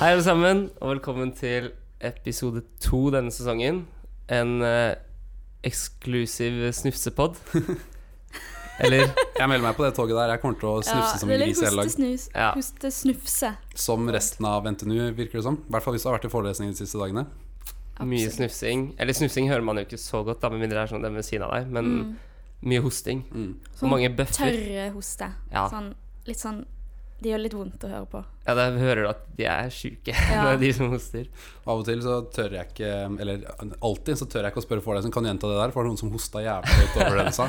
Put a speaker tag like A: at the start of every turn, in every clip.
A: Hei, alle sammen, og velkommen til episode to denne sesongen. En eh, eksklusiv snufsepod. Eller
B: Jeg melder meg på det toget der. Jeg kommer til å snufse som en
C: eller
B: gris i hele
C: hoste,
B: dag.
C: snus,
A: Ja.
C: hoste, snufse.
B: Som resten av NTNU, virker det som. I hvert fall hvis du har vært i forelesning de siste dagene.
A: mye
C: Absolutt.
A: snufsing. Eller snufsing hører man jo ikke så godt, da, med mindre det er sånn det er ved siden av deg, men
C: Mm.
A: mye hosting.
B: Mm.
A: Og mange bøffer.
C: Sånn Tørre hoste.
A: Ja.
C: Sånn, litt sånn Det gjør litt vondt å høre på.
A: Ja, da hører du at de er sjuke,
C: Ja.
A: de som hoster.
B: Av og til så tør jeg ikke Eller alltid så tør jeg ikke å spørre foreleseren Kan du gjenta det der, for det var noen som hosta jævlig høyt over det du sa.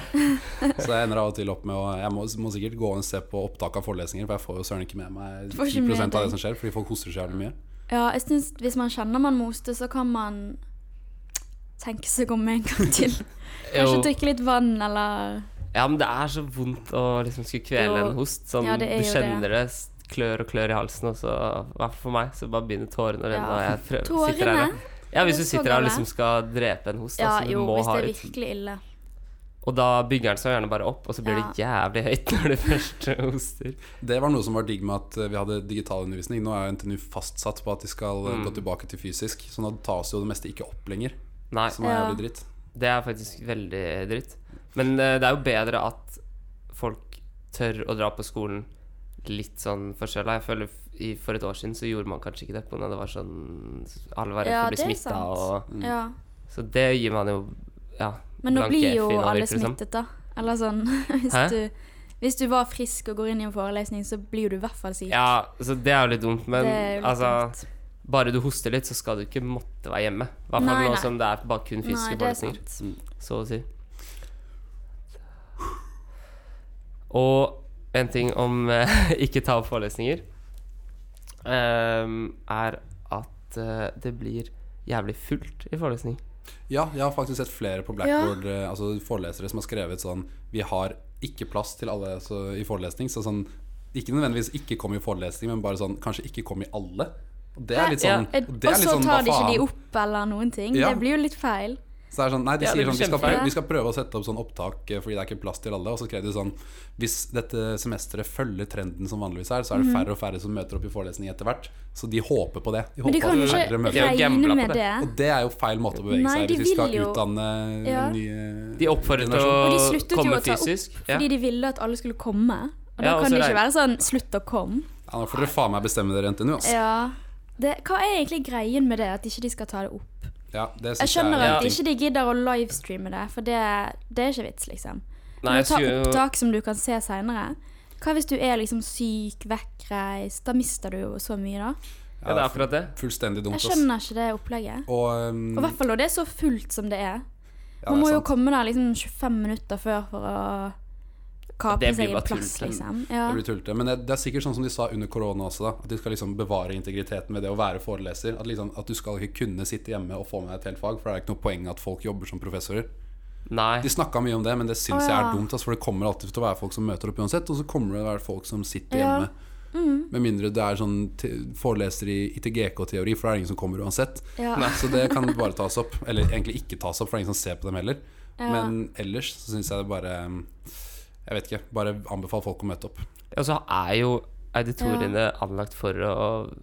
B: Så jeg ender av og til opp med å Jeg må, må sikkert gå og se på opptak av forelesninger, for jeg får jo søren ikke med meg
C: Du får ikke med
B: 10 av
C: deg.
B: det som skjer, fordi folk hoster så jævlig mye.
C: Ja, jeg synes Hvis man kjenner man må hoste, så kan man tenke seg om en gang til. Kanskje
A: Jo.
C: drikke litt vann, eller
A: Ja, men det er så vondt å liksom skulle kvele
C: Jo.
A: en host. Sånn,
C: Ja,
A: du
C: det er jo
A: kjenner det. s- klør og klør i halsen, og så, i hvert fall for meg, så bare begynner tårene å renne.
C: Ja.
A: Og jeg prøver, sitter her,
C: Tårene.
A: og- ja, hvis du
C: Det er så
A: sitter her og
C: gale.
A: liksom skal drepe en host,
C: Ja,
A: altså, du
C: jo,
A: må
C: hvis
A: ha
C: det er
A: ut
C: virkelig ille.
A: Og da bygger den seg gjerne bare opp, og så blir det jævlig høyt når du først hoster.
B: Det var noe som var digg med at eh, vi hadde digital undervisning. Nå er jo NTNU fastsatt på at de skal eh,
C: Mm.
B: gå tilbake til fysisk, så nå tas jo det meste ikke opp lenger,
A: Nei,
B: som er
C: Ja.
B: jævlig dritt.
A: det er faktisk veldig dritt. Men eh, det er jo bedre at folk tør å dra på skolen litt sånn forskjella. Jeg føler f- i, for et år siden så gjorde man kanskje ikke det pga. det var sånn Alle var redd
C: Ja,
A: for å bli
C: det er
A: smitta
C: sant.
A: og
B: Mm.
C: Ja.
A: Så det gir man jo ja,
C: Men nå
A: blanke
C: blir jo
A: F i nå,
C: alle
A: virker det som.
C: smittet, da. Eller sånn hvis
A: liksom. Hæ?
C: du, hvis du var frisk og går inn i en forelesning, så blir du i hvert fall syk.
A: Ja, så det er jo litt dumt, men
C: det er jo litt
A: altså
C: dumt.
A: Bare du hoster litt, så skal du ikke måtte være hjemme. I hvert
C: Nei,
A: fall nå
C: nei.
A: som det er bare kun
C: Nei,
A: fysiske
C: det er
A: forelesninger,
C: sant.
A: så å si. Og en ting om eh, ikke ta opp forelesninger ehm, er at eh, det blir jævlig fullt i forelesning.
B: Ja, jeg har faktisk sett flere på Blackboard, eh, altså forelesere som har skrevet sånn Vi har ikke plass til alle så, i forelesning, så sånn Ikke nødvendigvis ikke kom i forelesning, men bare sånn Kanskje ikke kom i alle. Og det er litt sånn
A: Ja.
B: det
C: og
B: er litt
C: så
B: sånn, hva
C: tar de ikke de
B: faen?
C: opp eller noen ting.
B: Ja.
C: Det blir jo litt feil.
B: Så det er sånn, nei, de
A: Ja, det
B: sier
A: blir
B: sånn vi skal,
A: kjempefeil.
B: prøve, vi skal prøve å sette opp sånn opptak eh, fordi det er ikke plass til alle. Og så skrev de sånn Hvis dette semesteret følger trenden som vanligvis er, så er det
C: Mhm.
B: færre og færre som møter opp i forelesning etter hvert. Så de håper på det. De
C: Men de
B: håper
C: kan jo
B: at færre
C: ikke
B: møter
A: er jo gambla
C: regne
A: på
C: med
A: det.
C: det.
B: Og det er jo feil måte å bevege
C: Nei,
B: seg i
C: de
B: hvis vi skal
C: vil jo-
B: utdanne
C: Ja.
B: nye
A: De oppfordret til
B: generasjoner.
C: Og de
A: å
C: sluttet jo
A: komme
C: å ta opp
A: fysisk. ja.
C: Fordi de ville at alle skulle komme. Og da
A: Ja, og så
C: kan det
A: regn-
C: ikke være sånn 'slutt å komme'.
B: Ja, nå får dere faen meg bestemme dere, NTNU. ass. Ja.
C: Ja. Det, hva er egentlig greien med det, at ikke de skal ta det opp?
B: det
C: Jeg
B: synes
C: skjønner
B: er
A: Ja.
C: at
B: en
C: ikke de gidder å livestreame det, for det, det er ikke vits, liksom.
A: Nei,
C: Men å
A: jeg
C: ta
A: skulle jo-
C: opptak som du kan se seinere Hva hvis du er liksom syk, vekkreist? Da mister du jo så mye, da.
A: Ja, det er akkurat det.
B: Fullstendig dumt,
C: Jeg
B: ass.
C: skjønner ikke det opplegget.
B: Og, um,
C: Og i hvert fall når det er så fullt som det er.
B: ja,
C: Man
B: det
C: må
B: er
C: jo
B: sant.
C: komme der liksom 25 minutter før for å kape
A: Det blir
C: seg
A: bare
C: en plass,
A: tull.
C: liksom.
B: Det
C: Ja.
B: blir tullete. Men det, det er sikkert sånn som de sa under korona også, da. At de skal liksom bevare integriteten ved det å være foreleser. At, liksom, at du skal ikke kunne sitte hjemme og få med deg et helt fag, for det er ikke noe poeng at folk jobber som professorer.
A: Nei.
B: De snakka mye om det, men det syns
C: Å,
B: jeg er
C: ja.
B: dumt, ass, for det kommer alltid til å være folk som møter opp uansett, og så kommer det til å være folk som sitter
C: Ja. Mm.
B: hjemme. Med mindre det er sånn te- foreleser i ITGK-teori, for det er ingen som kommer uansett.
C: Ja.
B: Nei, Så det kan bare tas opp. Eller egentlig ikke tas opp, for det er ingen som ser på dem heller. Men ellers så syns jeg det bare Jeg vet ikke. Bare anbefal folk å møte opp.
A: Og så er jo auditoriene anlagt for å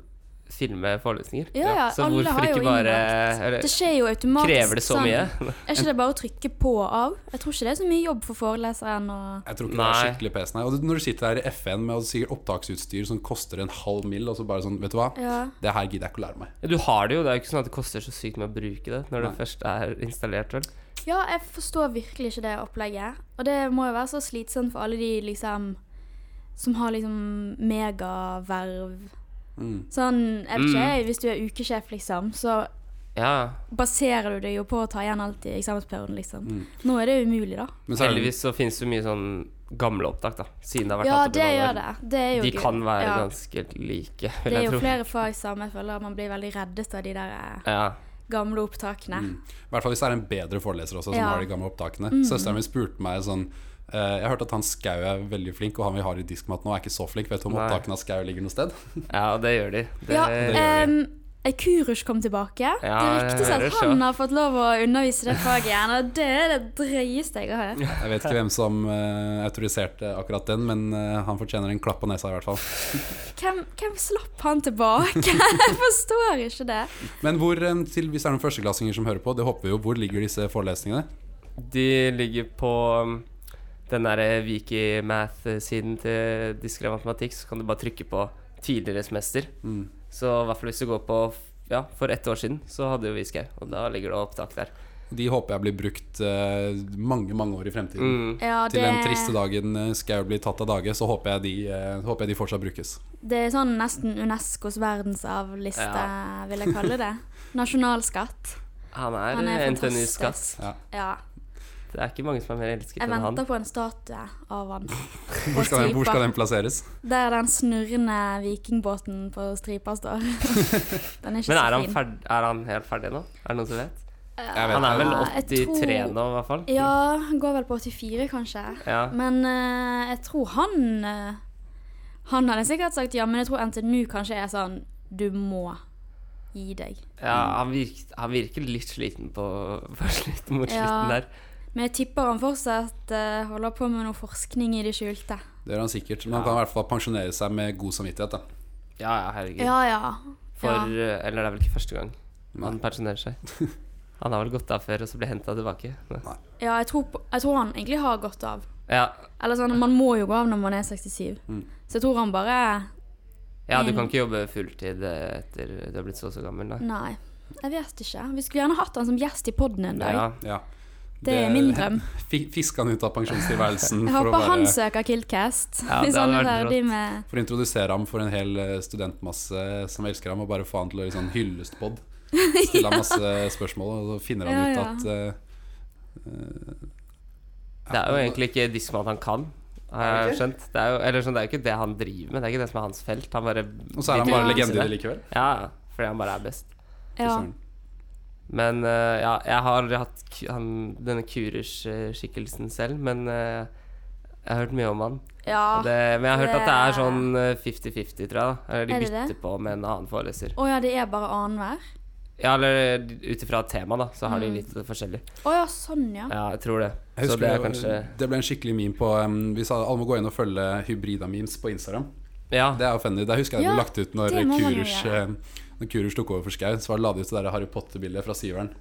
A: filme forelesninger.
C: Ja, ja,
A: så
C: alle
A: hvorfor
C: har jo
A: ikke bare
C: innlagt.
A: eller,
C: Det skjer jo automatisk.
A: Krever det så mye?
C: Sånn, er ikke det bare å trykke på og av? Jeg tror ikke det er så mye jobb for foreleseren å
B: Jeg tror ikke det
A: Nei.
B: er skikkelig pes, nei. Og du- når du sitter her i FN med sikkert opptaksutstyr som koster en halv mil, og så bare sånn, vet du hva,
C: Ja.
B: det her gidder jeg ikke å lære meg.
A: Du har det jo, det er jo ikke sånn at det koster så sykt mye å bruke det når
B: Nei.
A: det først er installert, vel.
C: Ja, jeg forstår virkelig ikke det opplegget. Og det må jo være så slitsomt for alle de liksom som har liksom megaverv.
A: Mm.
C: Sånn, jeg vet ikke, hvis du er ukesjef, liksom, så
A: Ja.
C: baserer du deg jo på å ta igjen alt i eksamensperioden, liksom.
A: Mm.
C: Nå er det jo umulig, da.
B: Men så er det-
A: Heldigvis så finnes det mye sånn gamle opptak, da. Siden det har vært
C: Ja,
A: tatt opp i
C: det
A: mange år.
C: gjør det. Det er jo
A: De
C: gøy.
A: kan være
C: Ja.
A: ganske like, vil
C: Det er
A: jeg
C: jo
A: tro.
C: flere fag som jeg føler man blir veldig reddet av de der eh,
A: Ja. Mm,
C: gamle opptakene.
B: I hvert fall hvis det er en bedre foreleser også, som
C: Ja. Mm.
B: har de gamle opptakene. Søsteren min spurte meg sånn eh, Jeg hørte at han Skau er veldig flink, og han vi har i diskmat nå, er ikke så flink. Vet du om
A: Nei.
B: opptakene av Skau ligger noe sted?
A: ja, det gjør de. Det,
C: Ja, eh,
B: gjør de.
C: em, Kurush kom tilbake.
A: Ja,
C: det
A: jeg
C: ryktes at
A: hører så.
C: han har fått lov å undervise det faget igjen, og det er det drøyeste jeg har hørt.
B: Jeg vet ikke hvem som eh, autoriserte akkurat den, men eh, han fortjener en klapp på nesa i hvert fall.
C: Hvem, hvem slapp han tilbake? Jeg forstår ikke det.
B: Men hvor, eh, til, hvis det er noen førsteklassinger som hører på, det håper vi jo, hvor ligger disse forelesningene?
A: De ligger på um, den derre Wikimath-siden til Diskret matematikk, så kan du bare trykke på tidligere semester.
B: Mm.
A: Så i hvert fall hvis du går på f- Ja, for ett år siden så hadde jo vi skau, og da ligger det opptak der.
B: De håper jeg blir brukt eh, mange, mange år i fremtiden.
A: Mm.
C: Ja,
B: Til den triste
C: det,
B: dagen eh, Skau blir tatt av dage, så håper jeg de, eh, håper jeg de fortsatt brukes.
C: det er sånn nesten UNESCOs verdensarvliste,
A: Ja.
C: vil jeg kalle det. Nasjonalskatt.
A: Han er,
C: Han er
A: NTNUs skatt.
C: fantastisk.
B: Ja.
C: Ja.
A: Det er ikke mange som er mer elsket
C: Jeg
A: enn han.
C: venter på en statue av han.
B: Hvor skal, den, hvor skal den plasseres?
C: Der den snurrende vikingbåten på stripa står. Den er
A: Men
C: ikke så
A: er han,
C: fin.
A: ferd, er han helt ferdig nå? Er det noen som vet?
B: Jeg vet
A: Han er vel
B: ikke.
C: Ja, jeg
A: 83
C: tror-
A: nå, i hvert fall.
C: Ja, han går vel på 84, kanskje.
A: Ja.
C: Men eh, jeg tror han eh, Han hadde sikkert sagt ja, men jeg tror NTNU kanskje er sånn Du må gi deg.
A: ja han, virker, han virker litt sliten på, på slutten, mot
C: Ja.
A: slutten der.
C: Men jeg tipper han fortsatt eh, holder på med noe forskning i det skjulte.
B: Det gjør han sikkert. Men han kan i hvert fall pensjonere seg med god samvittighet. da
A: Ja, ja, herregud.
C: Ja, ja.
A: For
C: ja.
A: eh, Eller det er vel ikke første gang han pensjonerer seg. Han har vel gått av før og så ble henta tilbake.
C: ja jeg, tror, på- jeg tror han egentlig har gått av.
A: Ja.
C: Eller sånn, Man må jo gå av når man er 67. Så jeg tror han bare
A: ja, du kan ikke jobbe fulltid eh, etter du har blitt så og så gammel, da.
C: Nei, jeg vet ikke. Vi skulle gjerne hatt han som gjest i poden en dag.
A: Ja.
B: Ja.
C: Det er min drøm.
B: Fi- Fiske han ut av pensjonstilværelsen
C: Jeg
B: for å,
C: håper han
B: bare,
C: søker Kiltcast.
A: Ja, det
C: hvis han
A: hadde
C: er
A: vært
C: ferdig med
B: for å introdusere ham for en hel eh, studentmasse som elsker ham, og bare få han til å gjøre sånn hyllestpod. Stille ham masse spørsmål, og så finner han ut
C: Ja,
B: at eh,
A: Det er jo egentlig ikke diskmann han kan, har jeg skjønt. Det er jo, eller sånn, det er jo ikke det han driver med, det er ikke det som er hans felt. Han bare
B: Og så er han bare
C: Ja.
B: legende i Sånn. det likevel.
A: Ja, ja, fordi han bare er best.
B: Fy
C: Ja.
B: søren.
A: Men eh, ja, jeg har aldri hatt ku- han, denne Kurers-skikkelsen selv, men eh, jeg har hørt mye om han.
C: ja.
A: Og Det, men jeg har hørt at det er
C: Ah, det-
A: sånn eh, 50-50, tror jeg. da Eller
C: Er
A: de
C: det det?
A: bytter på med en annen foreleser.
C: Å ja, det er bare annenhver?
A: Ja, eller ut ifra tema, da, så har
C: Mm.
A: de litt forskjellig.
C: Å ja, sånn, ja.
A: Ja, jeg tror det.
B: Jeg
A: Så
B: husker
A: det er
B: det,
A: kanskje
B: det ble en skikkelig meme på um, Vi sa alle må gå inn og følge Hybrida-memes på Instagram.
A: Ja,
B: Det er jo funny. Det husker jeg
C: Ja,
B: ble lagt ut når
C: det må man jo
B: Kurus,
C: gjøre.
B: eh, når Kurus tok over for Skau. Så var det ladet ut det der Harry Potter-bildet fra syveren.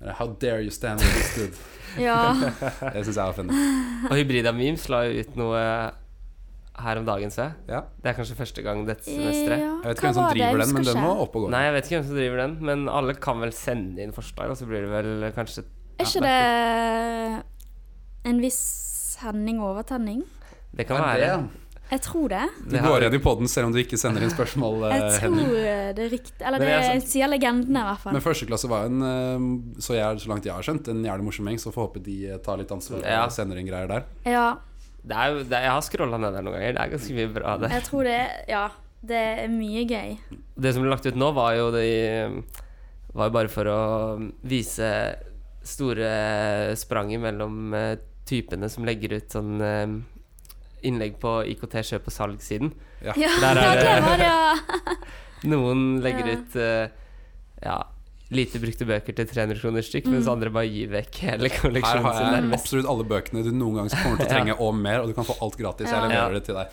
B: Det er, How dare you stand with this dude?
C: ja.
B: Det syns jeg er funny.
A: og Hybrida Memes la jo ut noe her om dagen, så jeg.
B: Ja.
A: Det er kanskje første gang dette semesteret.
C: ja.
B: Jeg vet
C: Hva
B: ikke hvem som
C: var det jeg
B: driver den, men
C: husker
B: den må
C: ikke.
B: opp og gå.
A: Nei, jeg vet ikke hvem som driver den, men alle kan vel sende inn forslag, og så blir det vel kanskje
C: Er ikke det en viss Henning Overtenning?
A: Det kan
B: Er det,
A: være.
C: Jeg tror det.
B: Du
A: har-
B: går igjen i poden selv om du ikke sender inn spørsmål. eh,
C: Jeg
B: Henning.
C: tror det er riktig. Eller
A: Men
C: det
A: jeg
C: sier legendene, i hvert fall.
B: Men første klasse var en, eh, så, jeg, så langt jeg har skjønt, en jævlig morsom gjeng. Så får håpe de eh, tar litt ansvar
A: Ja.
B: og sender inn greier der.
C: Ja,
A: Det er jo, det, jeg har scrolla ned der noen ganger. Det er ganske mye bra der.
C: jeg tror det. Ja, det er mye gøy.
A: Det som ble lagt ut nå, var jo de Var jo bare for å vise store spranget mellom eh, typene som legger ut sånn eh, innlegg på IKT kjøp og salg-siden.
C: Ja,
A: Der er
C: ja
A: det-
C: det var det, ja.
A: Noen legger
C: Ja.
A: ut eh, ja, lite brukte bøker til 300 kroner stykk, mens
C: Mm.
A: andre bare gir vekk hele
B: Her
A: kolleksjonen
B: har
A: sin
B: jeg
A: nærmest.
B: absolutt alle bøkene du noen gang kommer til å trenge, og mer. Og du kan få alt gratis. Jeg
C: Ja.
B: leverer
A: Ja.
B: det til deg.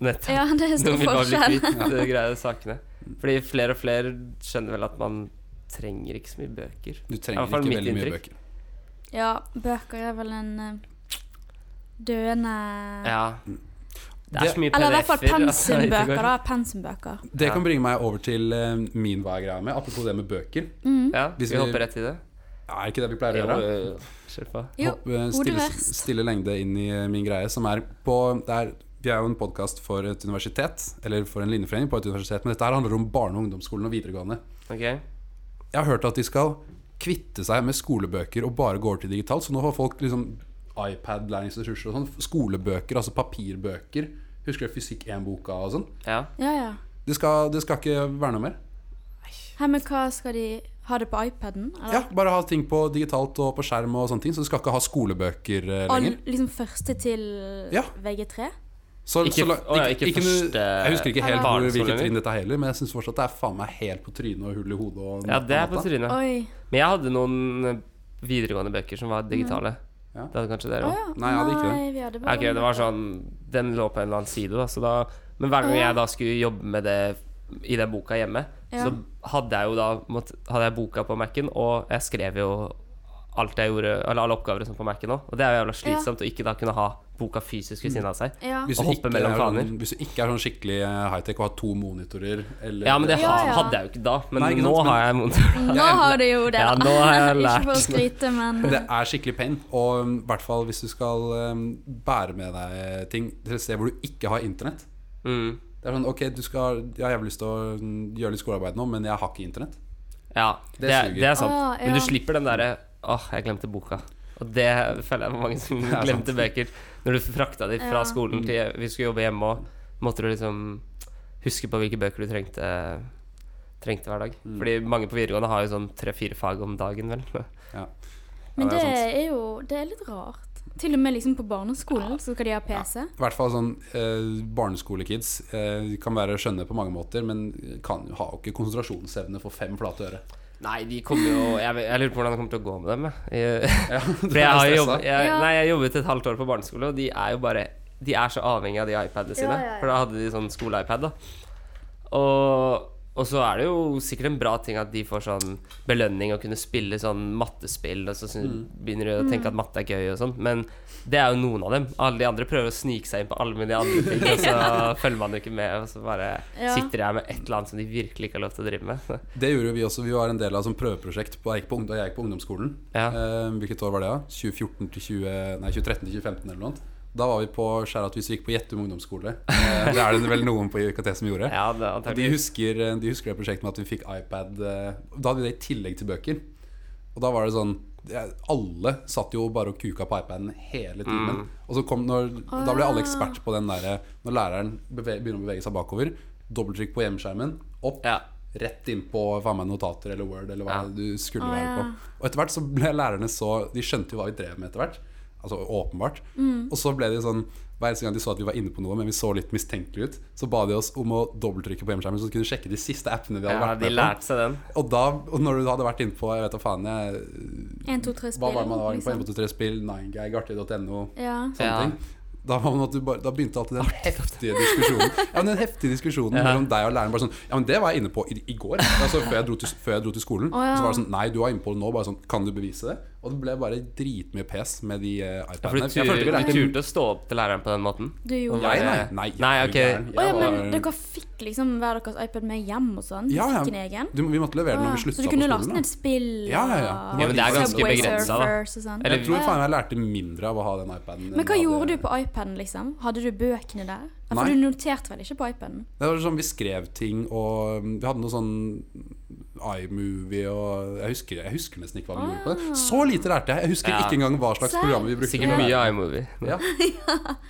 A: Nettopp.
C: ja. Det er
A: Noen
C: stor
A: vil bare bli
C: forskjell.
A: kvitt de greie sakene. Fordi flere og flere skjønner vel at man trenger ikke så mye bøker.
B: Du
A: I
B: trenger
A: hvert fall
B: ikke
A: mitt
B: veldig mye
A: inntrykk.
B: bøker.
C: Ja, bøker er vel en eh, døende
A: Ja. Det er
B: Det-
A: så mye
C: Eller i hvert fall
A: PDF-er. altså, det går
C: pensumbøker, da. Pensumbøker.
B: Det
A: Ja.
B: kan bringe meg over til eh, min hva er greia med. Apropos det med bøker.
A: Ja,
B: Hvis
A: vi
B: vi-
A: hopper rett i det.
B: Er ikke det vi pleier å gjøre?
A: eh, Kjør på.
C: Jo,
B: Hopp, eh,
C: hodet
B: stille,
C: verst.
B: stille lengde inn i eh, min greie, som er på det er, Vi er jo en podkast for et universitet, eller for en linjeforening på et universitet, men dette her handler om barne- og ungdomsskolen og videregående.
A: Ok.
B: Jeg har hørt at de skal kvitte seg med skolebøker og bare gå over til digitalt. Så nå har folk liksom iPad, læringsressurser og sånn. Skolebøker, altså papirbøker. Husker du Fysikk 1-boka og sånn?
A: Ja.
C: Ja, ja.
B: Det skal, det skal ikke være noe mer.
C: Her med hva skal de ha det på iPaden?
B: Ja,
C: Eller?
B: Bare ha ting på digitalt og på skjerm og sånne ting. Så du skal ikke ha skolebøker eh,
C: All,
B: lenger.
C: liksom første til
B: Ja.
C: VG3?
B: Så,
A: Ikke-
B: så la-
A: å ja, ikke
B: noe-
A: første
B: Jeg husker ikke helt hvor,
A: barneskolen
B: hvilket
A: lenger.
B: trinn dette er heller, men jeg syns fortsatt det er faen meg helt på trynet og hull i hodet. Og
A: Ja, det er på
B: natta.
A: trynet.
C: Oi.
A: Men jeg hadde noen eh, videregående bøker som var digitale.
B: Ja.
A: Det hadde kanskje
C: Mm. Å
A: dere òg.
C: ja.
B: Nei, jeg hadde ikke det.
C: Nei, vi hadde
A: Ja,
C: bare
A: ok, det var sånn Den lå på en eller annen side, da, så da Men hver gang
C: Å, ja.
A: jeg da skulle jobbe med det i den boka hjemme,
C: Ja.
A: så hadde jeg jo da mått, Hadde jeg boka på Mac-en, og jeg skrev jo alt jeg gjorde Eller alle oppgaver og sånn på Mac-en òg, og det er jo jævla slitsomt å ikke da kunne ha boka fysisk ved siden av seg.
C: Ja.
B: Hvis
A: Å
B: du,
A: hoppe
B: ikke
A: mellom
B: er sånn,
A: faner.
B: hvis du ikke er sånn skikkelig eh, high-tech og har to monitorer eller
A: Ja, men det
C: Ja,
A: ha-
C: ja.
A: hadde jeg jo ikke da, men
B: Nei, ikke sant,
A: nå
B: men-
A: har jeg monitor.
C: Nå har du jo det,
A: Ja,
C: da.
A: nå har jeg lært.
C: ikke for å skryte, men
B: Det er skikkelig pain. Og um, i hvert fall hvis du skal um, bære med deg ting til et sted hvor du ikke har internett.
A: Mm.
B: Det er sånn, ok, du skal, ja, Jeg har lyst til å mm, gjøre litt skolearbeid nå, men jeg har ikke internett.
A: Ja,
B: Det
A: det, er-
B: suger.
A: det er sant.
C: Å, Ah, ja.
A: Men du slipper den derre Åh, jeg glemte boka. Og det føler jeg var mange som
B: er sant.
A: glemte bøker. Når du frakta de fra
C: Ja.
A: skolen til vi skulle jobbe hjemme òg, måtte du liksom huske på hvilke bøker du trengte, trengte hver dag.
B: Mm.
A: Fordi mange på videregående har jo sånn tre-fire fag om dagen, vel.
B: Ja. Ja,
C: Men det
B: det er sant.
C: er jo Det er litt rart. Til og med liksom på barneskolen så skal de ha PC.
B: I hvert fall sånn eh, barneskolekids eh, kan være skjønne på mange måter, men kan, har jo ikke konsentrasjonsevne for fem flate øre.
A: Nei, de kommer jo Jeg, vet- jeg lurer på hvordan det kommer til å gå med dem. Jeg.
B: Ja, du
A: For jeg
B: er
A: har
B: stressa.
A: jobbet, jeg,
C: Ja.
A: Nei, jeg jobbet et halvt år på barneskole, og de er jo bare De er så avhengig av de iPadene sine.
C: ja, ja.
A: For da hadde de sånn skole-iPad, da. Og, og så er det jo sikkert en bra ting at de får sånn belønning og kunne spille sånn mattespill, og så syn-
B: Mm.
A: begynner de å
C: Mm.
A: tenke at matte er gøy og sånn, men det er jo noen av dem. Alle de andre prøver å snike seg inn på alle mine andre ting, og så følger man jo ikke med, og så bare
C: Ja.
A: sitter jeg med et eller annet som de virkelig ikke har lov til å drive med.
B: Det gjorde jo vi også. Vi var en del av et sånt prøveprosjekt på, jeg gikk på, ungdom- da jeg gikk på ungdomsskolen.
A: Ja.
B: Eh, hvilket år var det, da? 2014 til 20, nei, 2013 til 2015 eller noe annet. Da var vi på Skjæratvik, vi gikk på Gjettum ungdomsskole. Eh, det er det vel noen på UKT som gjorde.
A: Ja, det er
B: Og De
A: antagelig.
B: husker, eh, de husker det prosjektet med at vi fikk iPad eh, Da hadde vi det i tillegg til bøker. Og da var det sånn ja, Alle satt jo bare og kuka på iPaden hele timen.
A: Mm.
B: Og så kom når, Da ble alle ekspert på den derre når læreren beve, begynner å bevege seg bakover. Dobbelttrykk på hjemmeskjermen. Opp.
A: Ja.
B: Rett innpå hva med notater eller Word eller hva
A: Ja.
B: du skulle
C: Å,
B: være
C: ja.
B: på. Og etter hvert så ble lærerne så De skjønte jo hva vi drev med etter hvert. Altså åpenbart.
C: Mm.
B: Og så ble det sånn hver eneste gang de så at vi var inne på noe, men vi så litt mistenkelige ut, så ba de oss om å dobbelttrykke på hjemmeskjermen, så de kunne sjekke de siste appene vi hadde
A: Ja,
B: vært
A: de
B: med på.
A: lærte seg den.
B: Og da, og når du hadde vært inne på Jeg vet da faen jeg,
C: Én, to, tre spill.
B: Hva var det man var inne på?
C: liksom.
B: 123spill, 9gag, artig.no,
C: Ja.
B: sånne
A: Ja.
B: ting. Da, var man at du bare, da begynte alltid den heftige diskusjonen Ja, men den heftige diskusjonen mellom deg og læreren. Bare sånn, ja, men Det var jeg inne på i, i går, altså før jeg dro til, før jeg dro til skolen.
C: Å, ja.
B: Så var det sånn Nei, du var inne på det nå. Bare sånn, Kan du bevise det? Og det ble bare dritmye pes med de eh,
A: Ja, for
B: iPadene.
A: du tur-
B: Jeg følte vi
A: du
B: lærte
A: turte å stå opp til læreren på den måten?
C: Du gjorde
A: Nei,
B: Jeg, nei.
A: det.
B: Nei,
A: Nei,
B: er du
A: ok.
B: gæren?
C: Å ja,
B: Jeg
C: men
B: var-
C: dere fikk liksom hver deres iPad med hjem og sånn?
B: Ja, ja.
C: Fikk en egen?
B: Du, vi måtte levere den
C: Å,
B: når vi
C: ja.
B: slutta
C: Så du
B: på
C: kunne
B: skolen.
C: laste ned spill
B: Ja, ja, ja.
C: og
B: Ja, men det er ganske
C: Subway
A: begrenset, da.
C: Surfers og sånn?
A: Eller-
B: Jeg tror faen jeg lærte mindre av å ha den iPaden.
C: Men hva gjorde du på iPaden, liksom? Hadde du bøkene der? Ja,
B: Nei.
C: For du noterte vel ikke på iPaden?
B: Det var sånn Vi skrev ting, og um, vi hadde noe sånn iMovie og jeg husker, jeg husker nesten ikke hva vi gjorde på det. Så lite lærte jeg! Jeg husker
A: Ja.
B: ikke engang hva slags
C: Serr?
B: program vi brukte.
A: Sikkert
B: på det.
A: mye iMovie.
B: Ja.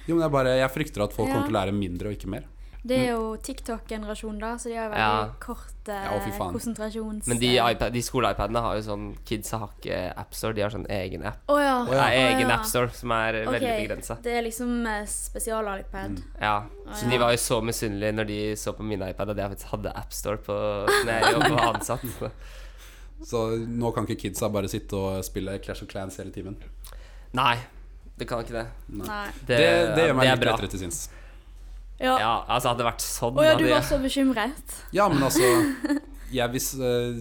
B: Jo, men jeg, bare, jeg frykter at folk
C: Ja.
B: kommer til å lære mindre og ikke mer.
C: Det er jo TikTok-generasjonen, da, så de har veldig
A: Mm. Ja.
C: kort
B: Ja, fy
C: eh,
B: faen.
C: konsentrasjons...
A: Men de, iPad, de skole-iPadene har jo sånn Kidsa har ikke AppStore, de har sånn egen app.
C: Å ja.
A: Det er
C: Å,
A: egen
C: ja.
A: AppStore som er
C: Ok,
A: veldig Mm. begrensa.
C: Det er liksom eh, spesial-iPad.
A: Ja. Så de var jo så misunnelige når de så på min iPad at jeg faktisk hadde AppStore på når jeg jobba ansatt.
B: Så nå kan ikke kidsa bare sitte og spille Clash of Clans hele timen.
A: Nei, det kan ikke det.
C: Nei.
A: Det,
B: Det, det gjør meg
A: det er
B: litt
A: bra.
B: lettere til sinns.
C: Ja.
A: Ja, altså hadde det vært sånn
C: Å ja,
A: hadde
C: du
A: jeg-
C: var så bekymret.
B: Ja, men altså jeg, hvis, eh,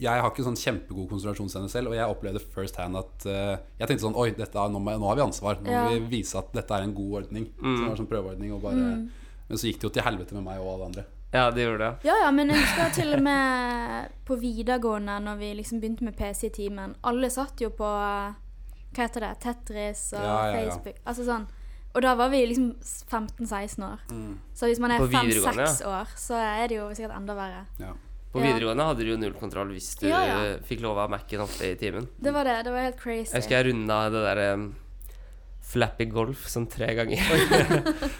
B: jeg har ikke sånn kjempegod konsentrasjonsevne selv, og jeg opplevde first hand at eh, Jeg tenkte sånn Oi, dette er, nå, må, jeg- nå har vi ansvar. Nå må
C: Ja.
B: vi vise at dette er en god ordning.
A: Mm.
B: Som var en sånn prøveordning og bare,
C: Mm.
B: Men så gikk det jo til helvete med meg og alle andre.
A: Ja, det gjorde det.
C: Ja ja, men jeg husker til og med på videregående, når vi liksom begynte med PC i timen. Alle satt jo på eh, hva heter det, Tetris og
B: Ja, ja, ja.
C: Facebook. Altså sånn. Og da var vi liksom 15-16 år.
B: Mm.
C: Så hvis man er
A: På videregående,
C: 5-6 år, så er det jo sikkert enda verre.
B: Ja.
A: På
C: Ja.
A: videregående hadde du jo null kontroll hvis du
C: Ja, ja.
A: fikk lov av Mac-en oppe i timen.
C: Det var det. Det var helt crazy.
A: Jeg husker jeg runda det der em, Flappy Golf sånn tre ganger.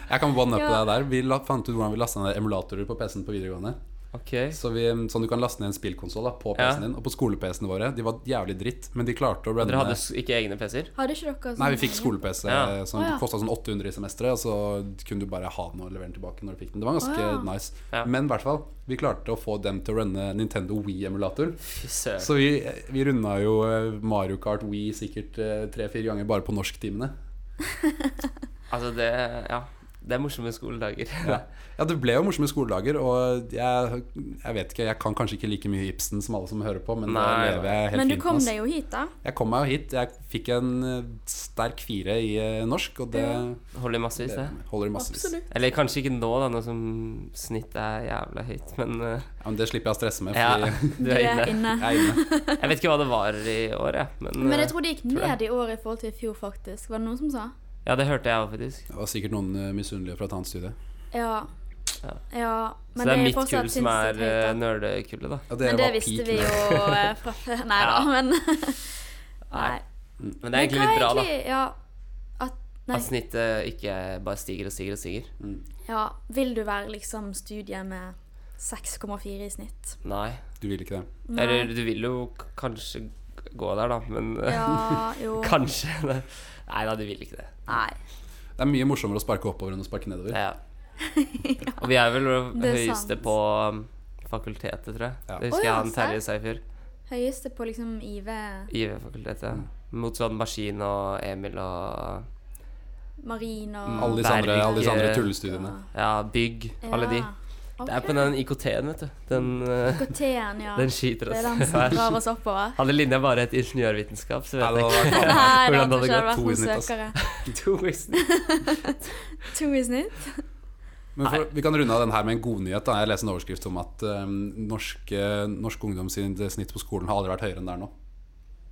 B: Jeg kan one up
C: Ja.
B: deg der. Vi la, fant ut hvordan vi lasta ned emulatorer på PC-en på videregående.
A: Ok.
B: Så vi, sånn du kan laste ned en spillkonsoll på
A: Ja.
B: PC-en din. Og på skole-PC-ene våre. De var jævlig dritt, men de klarte å runne
A: Dere hadde s- ikke egne PC-er?
C: Hadde ikke dere sånn
B: Nei, vi fikk skole-PC
A: Ja.
B: som
C: Å, ja.
B: kosta sånn 800 i semesteret. Og så kunne du bare ha den og levere den tilbake når du fikk den. Det var ganske
C: Å, ja.
B: nice.
A: Ja.
B: Men i hvert fall, vi klarte å få dem til å runne Nintendo Wii-emulator.
A: Fy søren.
B: Så vi, vi runda jo eh, Mario Kart Wii sikkert eh, tre-fire ganger bare på norsktimene.
A: Altså, det Ja. Det er morsomme skoledager.
B: Ja. ja, det ble jo morsomme skoledager, og jeg, jeg vet ikke, jeg kan kanskje ikke like mye Ibsen som alle som hører på, men da
A: Nei,
B: lever jeg helt
C: Men du
B: fint.
C: kom
B: med oss.
C: deg jo hit, da.
B: Jeg kom meg jo hit. Jeg fikk en eh, sterk fire i eh, norsk, og det,
A: Holder massevis,
B: det
A: det.
B: holder i massevis.
C: Absolutt.
A: Eller kanskje ikke nå, da, nå som snittet er jævla høyt, men eh,
B: Ja, men det slipper jeg å stresse med,
A: ja,
B: fordi
A: du
C: Du
A: er
C: er
A: inne.
C: inne.
B: jeg er inne.
A: Jeg vet ikke hva det var i år, jeg, men,
C: Men
A: eh,
C: jeg tror det gikk ned i år i forhold til i fjor, faktisk. Var det noen som sa?
A: Ja, det hørte jeg òg, faktisk.
B: Det var sikkert noen eh, misunnelige fra et annet studie.
C: Ja.
A: Ja.
C: ja.
A: Så det er mitt
C: fortsatt
A: kull som er
C: sinnssykt høyt,
A: eh,
C: da.
A: nerdekullet, da.
B: Ja,
C: Men
B: dere
C: det
B: var
C: visste
B: peak
C: vi
B: nå.
C: jo eh, fra før. Nei da,
A: Ja.
C: men
A: Nei.
C: Nei.
A: Men det er egentlig litt bra, da.
C: Ja, at, nei,
A: At snittet ikke bare stiger og stiger og stiger.
C: ja, vil du være liksom studie med 6,4 i snitt?
A: Nei.
B: Du vil ikke det.
C: Nei.
A: Eller du vil jo k- kanskje g- gå der, da, men eh,
C: Ja, jo.
A: kanskje Nei da, du vil ikke det.
C: Nei.
B: Det er mye morsommere å sparke oppover enn å sparke nedover.
A: Ja. Og vi er vel det
C: Det er
A: høyeste
C: sant.
A: på um, fakultetet, tror jeg.
B: Ja.
A: Det husker
C: Å, ja,
A: jeg han Terje
C: serr?
A: sa i fjor.
C: Høyeste på liksom IV
A: IV-fakultetet.
B: Mm.
A: ja. Mot sånn Maskin og Emil og
C: marin og
B: Alle disse andre,
A: Mm, Berg-
B: alle disse andre tullestudiene.
A: Ja, bygg. Alle de. Det er på den IKT-en, vet du. Den, eh,
C: T-en, ja.
A: den skyter
C: Det er den
A: oss.
C: som
A: Vær-
C: drar oss oppover.
A: Hadde linja bare hett ingeniørvitenskap, så
B: Ja,
A: vet
B: det
A: jeg
B: hadde vært
C: Nei,
B: vanlig.
A: hvordan
C: det hadde
A: hadde det gått?
C: ikke vært
B: To i
C: noen
B: snitt, ass.
C: søkere.
A: ikke. To visne.
C: To i snitt?
B: Men for, vi kan runde av den her med en godnyhet. Jeg leste en overskrift om at um, norsk, eh, norsk ungdom sin snitt på skolen har aldri vært høyere enn det er nå.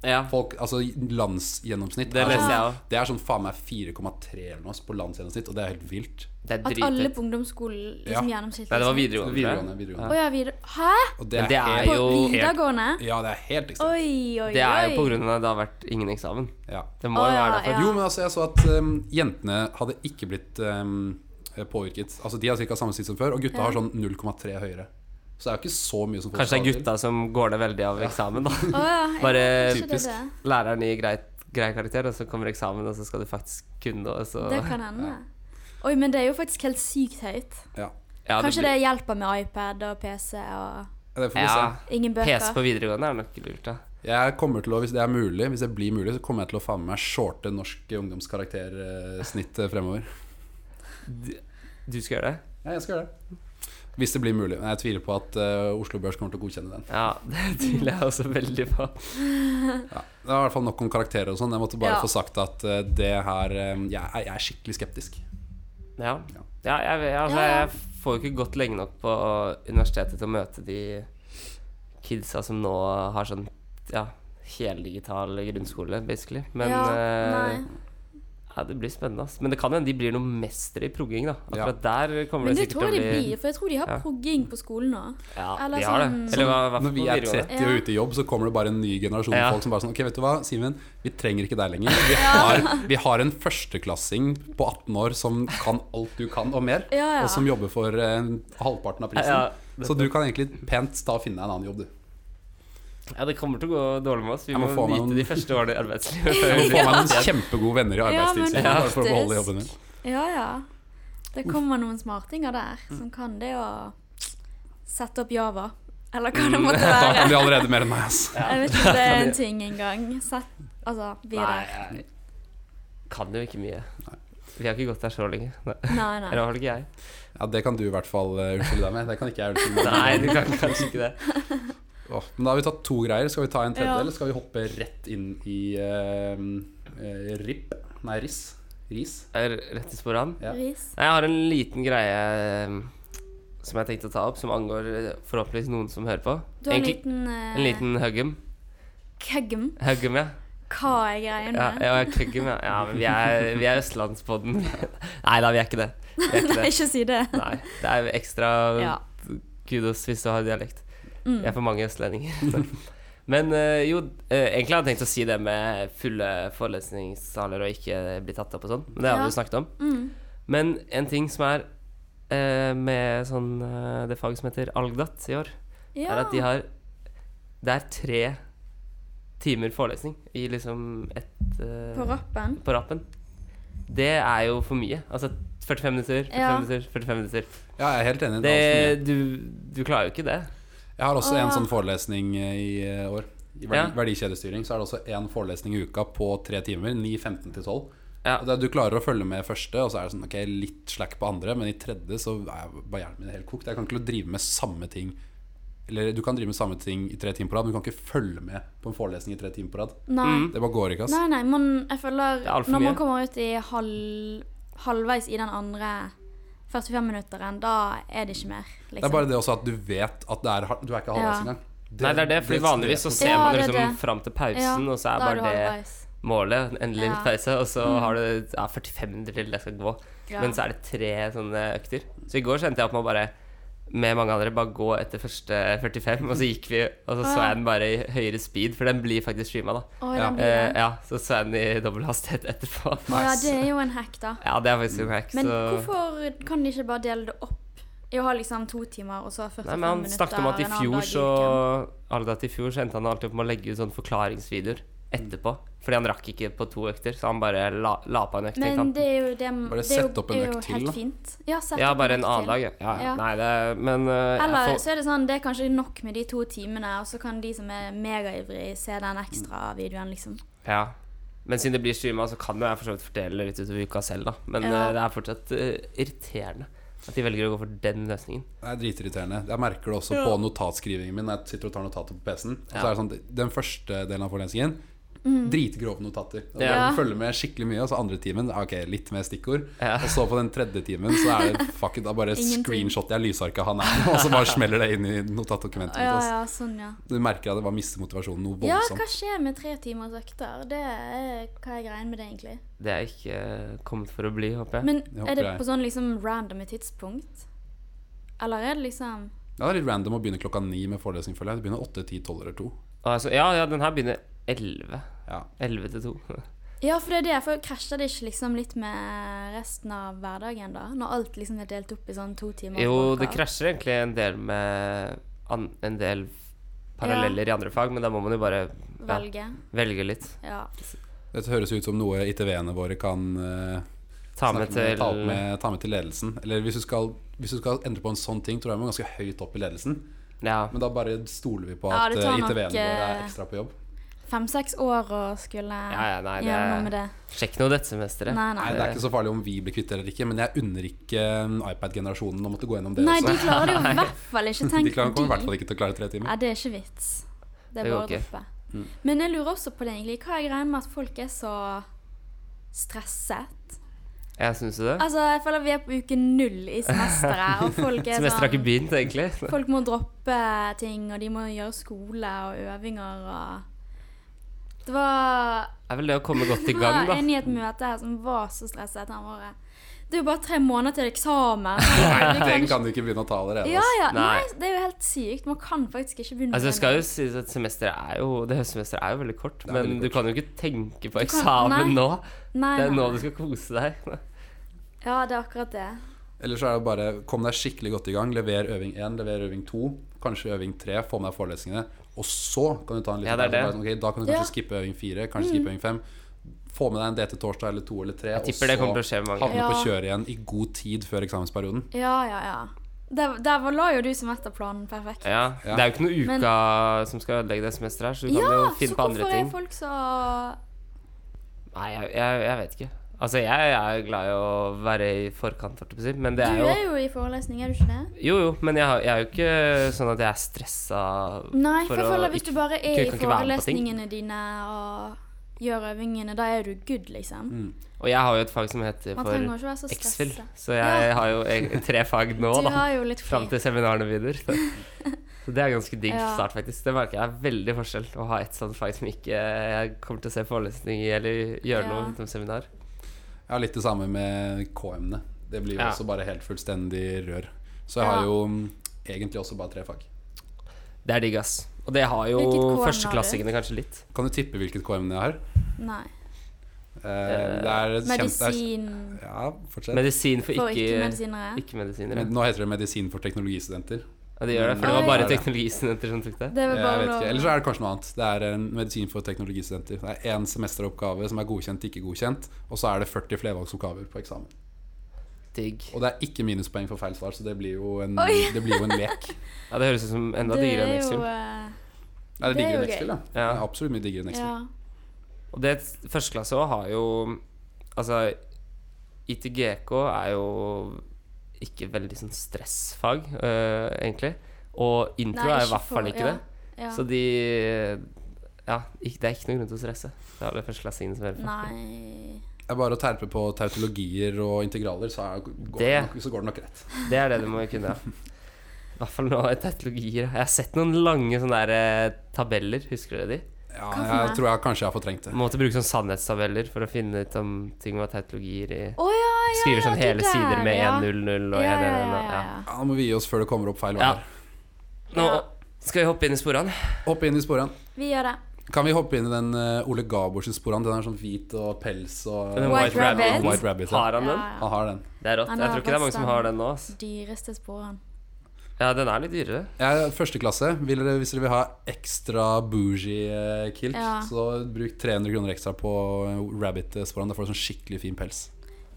A: Ja.
B: Folk, altså Landsgjennomsnitt
A: Det
B: er
A: leser
B: sånn,
A: jeg òg.
B: det er sånn faen meg 4,3 eller noe på landsgjennomsnitt, og det er helt vilt.
A: Det er
C: At alle
A: drithøyt.
C: på ungdomsskolen
B: Ja.
C: liksom gjennomsnittlig?
A: Nei, det var
C: snitt?
A: videregående.
B: Videregående.
C: Å
B: videregående.
C: ja, videre... Hæ?
B: Og det
A: Men det er
B: helt,
C: På
A: jo helt-
C: videregående?
B: Ja, det er helt ekstremt.
C: Oi, oi, oi.
A: Det er jo på grunn av at det har vært ingen eksamen.
B: Ja.
A: Det må
C: Å,
A: jo være
C: ja,
A: derfor.
B: Jo, men altså, jeg så at um, jentene hadde ikke blitt um, påvirket. Altså, De har ca. samme snitt som før, og gutta har sånn 0,3 høyere. Så det er jo ikke så mye som folk
A: Kanskje det er
B: skal til.
A: gutta som går ned veldig av eksamen, da.
C: Å ja, ja,
A: Bare
C: kanskje det er
B: typisk.
C: det.
A: Læreren gir grei, grei karakter, og så kommer eksamen, og så skal du faktisk kunne det, og så
C: Det kan hende. Oi, men det er jo faktisk helt sykt høyt.
B: Ja.
A: Ja, det
C: Kanskje
A: blir-
C: det hjelper med iPad og PC og
B: Ja, Det får vi
A: ja,
B: se.
C: ingen bøker.
A: PC på videregående er nok lurt, da.
B: Jeg kommer til å, Hvis det er mulig, hvis det blir mulig, så kommer jeg til å faen meg shorte norsk ungdomskaraktersnitt eh, fremover.
A: Du skal gjøre det?
B: Ja, jeg skal gjøre det. Hvis det blir mulig. Men jeg tviler på at eh, Oslo Børs kommer til å godkjenne den.
A: Ja, det tviler jeg også veldig på.
B: Det var i hvert fall nok om karakterer og sånn. Jeg måtte bare
C: Ja.
B: få sagt at eh, det her eh, jeg, er- jeg er skikkelig skeptisk.
A: Ja, ja jeg, jeg, altså,
C: Ja, ja.
A: jeg får jo ikke gått lenge nok på universitetet til å møte de kidsa som nå har sånn ja, heldigital grunnskole, basically. Men
C: ja,
A: eh,
C: nei.
A: ja, det blir spennende. Ass. Men det kan hende de blir noen mestere i progging, da.
B: Ja.
A: Akkurat der kommer
C: Men
A: det
C: det
A: sikkert
C: tror
A: til å
C: jeg de
A: bli
C: blir, for jeg tror de har
A: Ja.
C: progging på skolen nå.
A: Ja,
C: Eller
A: de har det.
C: sånn-
A: Eller hva, hva
B: Når vi er 30 og
C: Ja.
B: ute i jobb, så kommer det bare en ny generasjon
A: Ja.
B: folk som bare sånn Ok, vet du hva, Simen, vi trenger ikke deg lenger. Vi har, vi har en førsteklassing på 18 år som kan alt du kan, og mer.
C: Ja, ja.
B: Og som jobber for eh, halvparten av prisen.
A: Ja, ja.
B: Så du kan egentlig pent da finne deg en annen jobb, du.
A: Ja, det kommer til å gå dårlig med oss. Vi
B: Jeg
A: må,
B: må få meg
A: nyte
B: noen-
A: de første årene i arbeidslivet. før
B: Du
A: vi
B: får
A: blir-
B: meg noen kjempegode venner i
C: Ja, men
B: arbeidstid. bare for å beholde
C: faktisk.
B: jobben din.
C: Ja, ja. Det kommer noen smartinger der
A: Mm.
C: som kan det å sette opp Java. Eller hva
A: Mm.
C: det måtte
B: Da
C: være.
B: kan de allerede mer enn meg, ass.
C: Jeg vet ikke om det er en ting engang. Sett Altså, vi er
A: Nei,
C: der.
A: jeg kan jo ikke mye. Vi har ikke gått der så lenge. Nei.
C: Nei,
A: Eller
C: nei.
A: i hvert fall ikke jeg.
B: Ja, det kan du i hvert fall eh, unnskylde deg med. Det kan ikke jeg unnskylde meg
A: Nei, du kan kanskje ikke det.
B: med. Åh, men da har vi tatt to greier. Skal vi ta en tredje,
C: Ja.
B: eller skal vi hoppe rett inn i eh, eh, RIP? Nei, RIS. RIS.
A: Er rett i sporet han.
B: Ja.
C: Ris.
A: Nei, Jeg har en liten greie eh, som jeg tenkte å ta opp, som angår eh, forhåpentligvis noen som hører på.
C: Du har en
A: Egentlig-
C: liten, eh,
A: en liten huggum.
C: Keggum.
A: Huggum, ja.
C: Hva er greia
A: Ja,
C: med
A: ja, huggum, ja. ja men vi er, vi er Østlandspodden. Nei da, vi er ikke det. Vi er ikke
C: Nei,
A: det.
C: ikke si det.
A: Nei, det er ekstra
C: Ja.
A: kudos hvis du har dialekt.
C: Mm.
A: Vi er for mange østlendinger. Men eh, jo, eh, egentlig hadde jeg tenkt å si det med fulle forelesningssaler og ikke bli tatt opp og sånn, men det har
C: Ja.
A: vi jo snakket om.
C: Mm.
A: Men en ting som er eh, med sånn, eh, det faget som heter Algdat i år,
C: Ja.
A: er at de har Det er tre timer forelesning i liksom ett eh,
C: På rappen.
A: på rappen. Det er jo for mye. Altså 45 minutter, 45
C: Ja.
A: minutter, 45 minutter.
B: Ja, jeg er helt enig. Det... er
A: Det,
B: altfor
A: du, du klarer jo ikke det.
B: mye. Jeg har også en
C: Ah.
B: sånn forelesning eh, i eh, år. I verdi,
A: Ja.
B: verdikjedestyring så er det også én forelesning i uka på tre timer. 9, 15 til 12.
A: Ja.
B: Og det er- Du klarer å følge med første, og så er det sånn, ok, litt slack på andre, men i tredje så er bare hjernen min helt kokt. Jeg kan ikke drive med samme ting Eller du kan drive med samme ting i tre timer på rad, men du kan ikke følge med på en forelesning i tre timer på rad.
C: Nei.
A: Mm.
B: Det bare går ikke, ass.
C: Nei, nei, man, jeg føler
A: Det er alt for
C: Når
A: mye.
C: man kommer ut i halv, halvveis i den andre 45-minutteren, da er det ikke mer. Liksom.
B: Det er bare det også at du vet at det er, har- du er ikke halvveis
C: Ja.
B: engang.
A: Nei, det er det, fordi vanligvis så ser
C: Ja,
A: man
C: det er
A: liksom
C: det.
A: fram til pausen, og så er
C: da
A: bare
C: du
A: det
C: halvveis.
A: målet. Endelig litt
C: Ja. Mm.
A: pause, og så har du ja, 45 minutter til jeg skal gå.
C: Ja.
A: Men så er det tre sånne økter. Så i går kjente jeg at man bare med mange andre bare gå etter første 45, og så gikk vi, og så så jeg den bare i høyere speed, for den blir faktisk streama, da.
C: Oi,
B: Ja.
C: den blir
A: Eh,
C: det.
A: ja, så så jeg den i dobbel hastighet etterpå.
C: Å ja, det er jo en hack, da.
A: Ja, det er faktisk en hack, så
C: Men hvorfor kan de ikke bare dele det opp i å ha liksom to timer og så 45
A: Nei,
C: minutter?
A: men Han snakket om at i
C: en annen
A: fjor
C: dag i
A: så
C: uken?
A: Aldat i fjor så endte han alltid opp med å legge ut sånne forklaringsvideoer etterpå. Fordi han rakk ikke på to økter, så han bare la, la på en økt. tenkte
C: Men
A: han.
C: det er jo det
B: Bare
C: det er jo-
B: sett opp en
C: er jo
B: økt til,
C: helt
B: da.
C: Fint. Ja, sett
A: Ja,
C: opp
A: bare
C: økt
A: en annen
C: til.
A: dag. ja. Ja, ja.
C: Ja.
A: Nei, det er- Men øh, jeg
C: Eller
A: får-
C: så er det sånn, det er kanskje nok med de to timene, og så kan de som er megaivrige, se den
B: Mm.
C: ekstra videoen, liksom.
A: Ja. Men siden det blir streama, så kan jo jeg for så vidt fordele litt utover uka selv, da. Men
C: Ja.
A: øh, det er fortsatt øh, irriterende at de velger å gå for den løsningen.
B: Det er dritirriterende. Jeg merker det også på notatskrivingen min. Når jeg sitter og tar notater på PC-en. Og så
A: Ja.
B: er det sånn, Den første delen av forelesningen
C: Mm.
B: dritgrove notater. Og
A: Ja.
B: Du følger med skikkelig mye. Og så andre timen ok, litt mer stikkord.
A: Ja.
B: Og så på den tredje timen så er det fuck it, da bare
C: Ingenting.
B: screenshotter jeg lysarket han er på, og så bare smeller det inn i notatdokumentet mitt.
C: Ja,
B: ass.
C: ja, sånn, ja.
B: Du merker at jeg bare mister motivasjonen noe
C: Ja,
B: voldsomt.
C: hva skjer med tre timers økter? Det er hva er greien med det, egentlig.
A: Det er ikke øh, kommet for å bli, håper jeg.
C: Men
B: Det håper
C: er det
B: jeg.
C: på sånn liksom random tidspunkt? Eller er det liksom
B: Ja, det er litt random å begynne klokka ni med forelesning, føler jeg. Du begynner åtte, ti, tolv eller to.
A: altså, ja, ja, den her begynner 11.
B: Ja.
A: 11 til 2.
C: Ja, for det er det. For krasjer det ikke liksom litt med resten av hverdagen, da? Når alt liksom er delt opp i sånn to timer?
A: Jo,
C: for
A: det
C: hver?
A: krasjer egentlig en del med an, en del paralleller i andre fag, men da må man jo bare ja,
C: Velge.
A: velge litt.
C: Ja.
B: Dette høres ut som noe ITV-ene våre kan eh,
A: Ta med
B: Snakke
A: til
B: ta, opp med, ta med til ledelsen. Eller hvis du, skal, hvis du skal endre på en sånn ting, tror jeg man er ganske høyt opp i ledelsen.
A: Ja.
B: Men da bare stoler vi på
C: Ja,
B: at
C: det
B: eh,
C: tar nok,
B: ITV-ene våre er
C: eh,
B: ekstra på jobb.
C: Fem-seks år å skulle
A: Ja, ja, nei, det-
C: gjøre noe med det.
A: Sjekk nå dette semesteret.
C: Nei, nei.
B: Nei, Det er ikke så farlig om vi blir kvitt det eller ikke, men jeg unner ikke eh, iPad-generasjonen å måtte gå gjennom det
C: Nei, de
B: også.
C: klarer det jo i hvert fall ikke.
B: De
C: Tenk
B: klarer, kommer i hvert
C: de.
B: fall ikke til å klare tre timer.
C: Nei, det er ikke vits. Det
A: Det
C: er
A: går
C: bare å
A: ikke.
C: droppe. Men jeg lurer også på det, egentlig. Hva er greia med at folk er så stresset?
A: Jeg syns jo det.
C: Altså, jeg føler vi er på uke null i semesteret, og folk er
A: Semesteret har ikke
C: sånn
A: begynt, egentlig.
C: Folk må droppe ting, og de må gjøre skole og øvinger og Det var
A: Det er vel det å komme godt i
C: det
A: gang,
C: var
A: da.
C: en i et møte her som var så stresset han var Det er jo bare tre måneder til eksamen. Sånn,
B: Nei,
C: du
B: Den
C: kan-
B: kan du ikke begynne å ta allerede. altså.
C: Ja,
B: ass.
C: ja.
A: Nei.
C: Nei, det er jo helt sykt. Man kan faktisk ikke begynne
A: Altså, det
C: med
A: skal jo sies at semesteret er jo Det høstsemesteret er jo veldig kort,
B: er
A: men
B: veldig
A: du kan jo ikke tenke på
C: Du kan-
A: eksamen
C: nei.
A: nå.
C: Nei,
A: Det er
C: nei,
A: nå
C: nei.
A: du skal kose deg.
C: Ja, det er akkurat det.
B: Eller så er det bare kom deg skikkelig godt i gang. Lever øving én, lever øving to, kanskje øving tre. Få med deg forelesningene. Og så kan du ta en liten
A: Ja, det er
B: pause.
A: det.
B: Ok, da kan du kanskje
C: Ja. Mm.
B: skippe øving fire, kanskje skippe øving fem. Få med deg en DT torsdag eller to eller tre, og
A: tipper det kommer til å skje
B: så
A: med mange.
B: havne på
C: Ja.
B: kjøret igjen i god tid før eksamensperioden.
C: Ja, ja, ja. Der, der var- la jo du semesterplanen perfekt.
A: Ja.
B: Ja.
A: Det er jo ikke noe
C: Men-
A: uka som skal ødelegge det semesteret her, så du kan
C: Ja,
A: jo
C: så
A: finne på andre
C: hvorfor
A: ting.
C: er folk så
A: Nei, jeg, jeg, jeg vet ikke. Altså, jeg er glad i å være i forkant, holdt jeg på å si, men
C: Du
A: det er jo
C: er jo i forelesning, er du ikke det?
A: Jo, jo, men jeg, har- jeg er jo ikke sånn at jeg er stressa
C: Nei, for, jeg føler hvis du bare
A: ikke-
C: er i
A: kan ikke være med på ting.
C: forelesningene dine og gjør øvingene, da er du good, liksom.
A: Og jeg har jo et fag som heter
C: Man trenger
A: for
C: ikke være så
A: X-Fill,
C: stressa.
A: så jeg har jo e- tre fag nå,
C: Du
A: da.
C: har jo litt
A: Fram
C: fri.
A: til seminarene begynner. Så. så det er ganske digg
C: Ja.
A: start, faktisk. Det merker jeg er veldig forskjell å ha et sånt fag som ikke jeg kommer til å se forelesning i eller gjøre noe
C: Ja.
A: utenom seminar.
B: Jeg har litt det samme med K-emnet. Det blir jo
A: Ja.
B: også bare helt fullstendig rør. Så jeg har
C: Ja.
B: jo mm, egentlig også bare tre fag.
A: Det er digg, ass. Og det har jo
C: Hvilket K-emne har du?
A: førsteklassingene kanskje litt.
B: Kan du tippe hvilket K-emne jeg har?
C: Nei.
B: Eh, det er kjent-
C: Medisin
B: det er- Ja, fortsett.
A: Medisin for
C: for
A: ikke-medisinere.
C: ikke-medisinere.
A: Ikke medisinere.
B: Men nå heter det medisin for teknologistudenter.
A: ja, det gjør det, for det
C: Nei.
A: var bare teknologistudenter som tok det.
C: Det var
B: Jeg
C: Eh, bare
B: vet ikke, Eller
C: lov.
B: så er det kanskje noe annet. Det er en medisin for teknologistudenter. Det er én semesteroppgave som er godkjent, ikke godkjent, og så er det 40 flervalgsoppgaver på eksamen.
A: Digg.
B: Og det er ikke minuspoeng for feil svar, så det blir jo en,
C: Oi.
B: det blir jo en lek.
A: Ja, det høres ut som enda
C: Det
A: diggere enn
C: er jo
A: Excel.
C: eh,
B: Nei, det
C: Det er
B: digger
C: jo
B: enn Excel, da. Det
A: Ja.
B: er absolutt mye diggere enn Excel.
C: Ja.
A: Og det førsteklasse òg har jo Altså, ITGK er jo ikke veldig sånn stressfag, øh, egentlig. Og intro
C: Nei,
A: er i
C: ikke
A: hvert fall
C: for-
A: ikke
C: ja,
A: det.
C: Ja.
A: Så de Ja, ikke, det er ikke noen grunn til å stresse. Det er det førsteklassingene som hører på.
C: Nei
B: Det er bare å terpe på tautologier og integraler, så, er, går det.
A: Det-
B: Nok, så går det nok rett.
A: Det er det du må kunne. ja. I hvert fall nå i teknologier. Jeg har sett noen lange sånne der, eh, tabeller, husker dere de?
B: Ja,
C: Hva for
B: jeg
C: noe?
B: tror jeg kanskje jeg har fortrengt det.
A: Man måtte bruke sånne sannhetstabeller for å finne ut om ting var teknologier i
C: Å ja, ja, ja,
A: Skriver sånn
C: det
A: hele
C: der,
A: sider med
C: ja.
A: 100 og
C: Ja,
A: 111. Ja,
C: ja, ja, ja, ja.
B: Ja, nå må vi gi oss før det kommer opp feil
A: Ja.
B: vær.
A: Nå
C: Ja.
A: skal vi hoppe inn i sporene.
B: Hopp inn i sporene.
C: Vi gjør det.
B: Kan vi hoppe inn i den eh, Ole Gaborsen sporene? Den er sånn hvit og pels og
A: Den
C: White Rabbit.
B: White Rabbit, ja.
A: Har han den?
C: Ja,
B: Han har den.
A: Det er rått.
C: Han
A: Jeg
C: har
A: tror ikke det er mange som
C: fast
A: har
C: den.
A: den nå. ass.
C: Dyreste sporene.
A: Ja, den er litt dyrere.
B: Jeg er første klasse. Vil dere, hvis dere vil ha ekstra bougie eh, kilt,
C: Ja.
B: så bruk 300 kroner ekstra på rabbit-sporene. Da får du sånn skikkelig fin pels.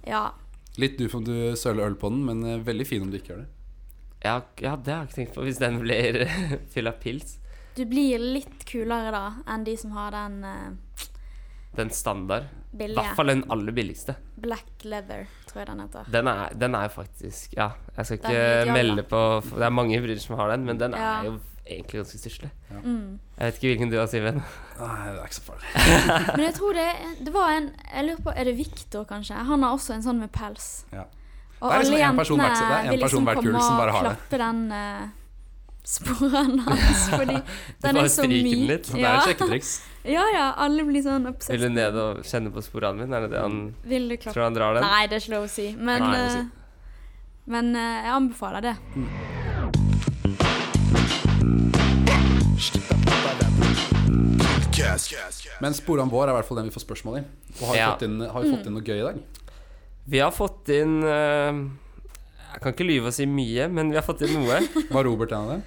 C: Ja.
B: Litt du om du søler øl på den, men eh, veldig fin om du ikke gjør det.
A: Ja, ja, det har jeg ikke tenkt på. Hvis den blir fylt av pils.
C: Du blir litt kulere da enn de som har den eh,
A: Den standard. I hvert
C: billige.
A: fall den aller billigste.
C: Black leather, tror jeg den heter.
A: Den er, den er jo faktisk Ja, jeg skal
C: Den er litt
A: ikke
C: jævla.
A: melde på Det er mange briller som har den, men den
C: Ja.
A: er jo egentlig ganske stusslig.
C: Mm.
A: Jeg vet ikke hvilken du har, Simen.
B: Nei, det er ikke så farlig.
C: Men jeg tror det, det var en Jeg lurer på, er det Victor, kanskje? Han har også en sånn med pels.
B: Ja.
C: Og
B: Det er liksom
C: alle
B: en person
C: jentene
B: hvert- det er en
C: vil liksom
B: person hvert kull
C: komme
B: som bare
C: og
B: har det.
C: klappe den eh, sporen hans, fordi den
A: bare
C: er så
A: stryker
C: myk.
A: den litt,
B: Så det
C: ja.
B: er et sjekketriks.
C: ja, ja, alle blir sånn
A: Vil
C: obsessed.
A: du ned og kjenne på sporene mine? Er det det han
C: Vil du klappe?
A: tror han drar den?
C: Mm, Nei, det er ikke lov å si. Men,
A: Nei, det er ikke lov å si.
C: eh, men eh, jeg anbefaler det.
B: Men sporene vår er i hvert fall den vi får spørsmål i. Og har vi
A: Ja.
B: fått inn, har vi fått inn noe gøy i dag?
A: Vi har fått inn eh, Jeg kan ikke lyve og si mye, men vi har fått inn noe.
B: Var Robert en av dem?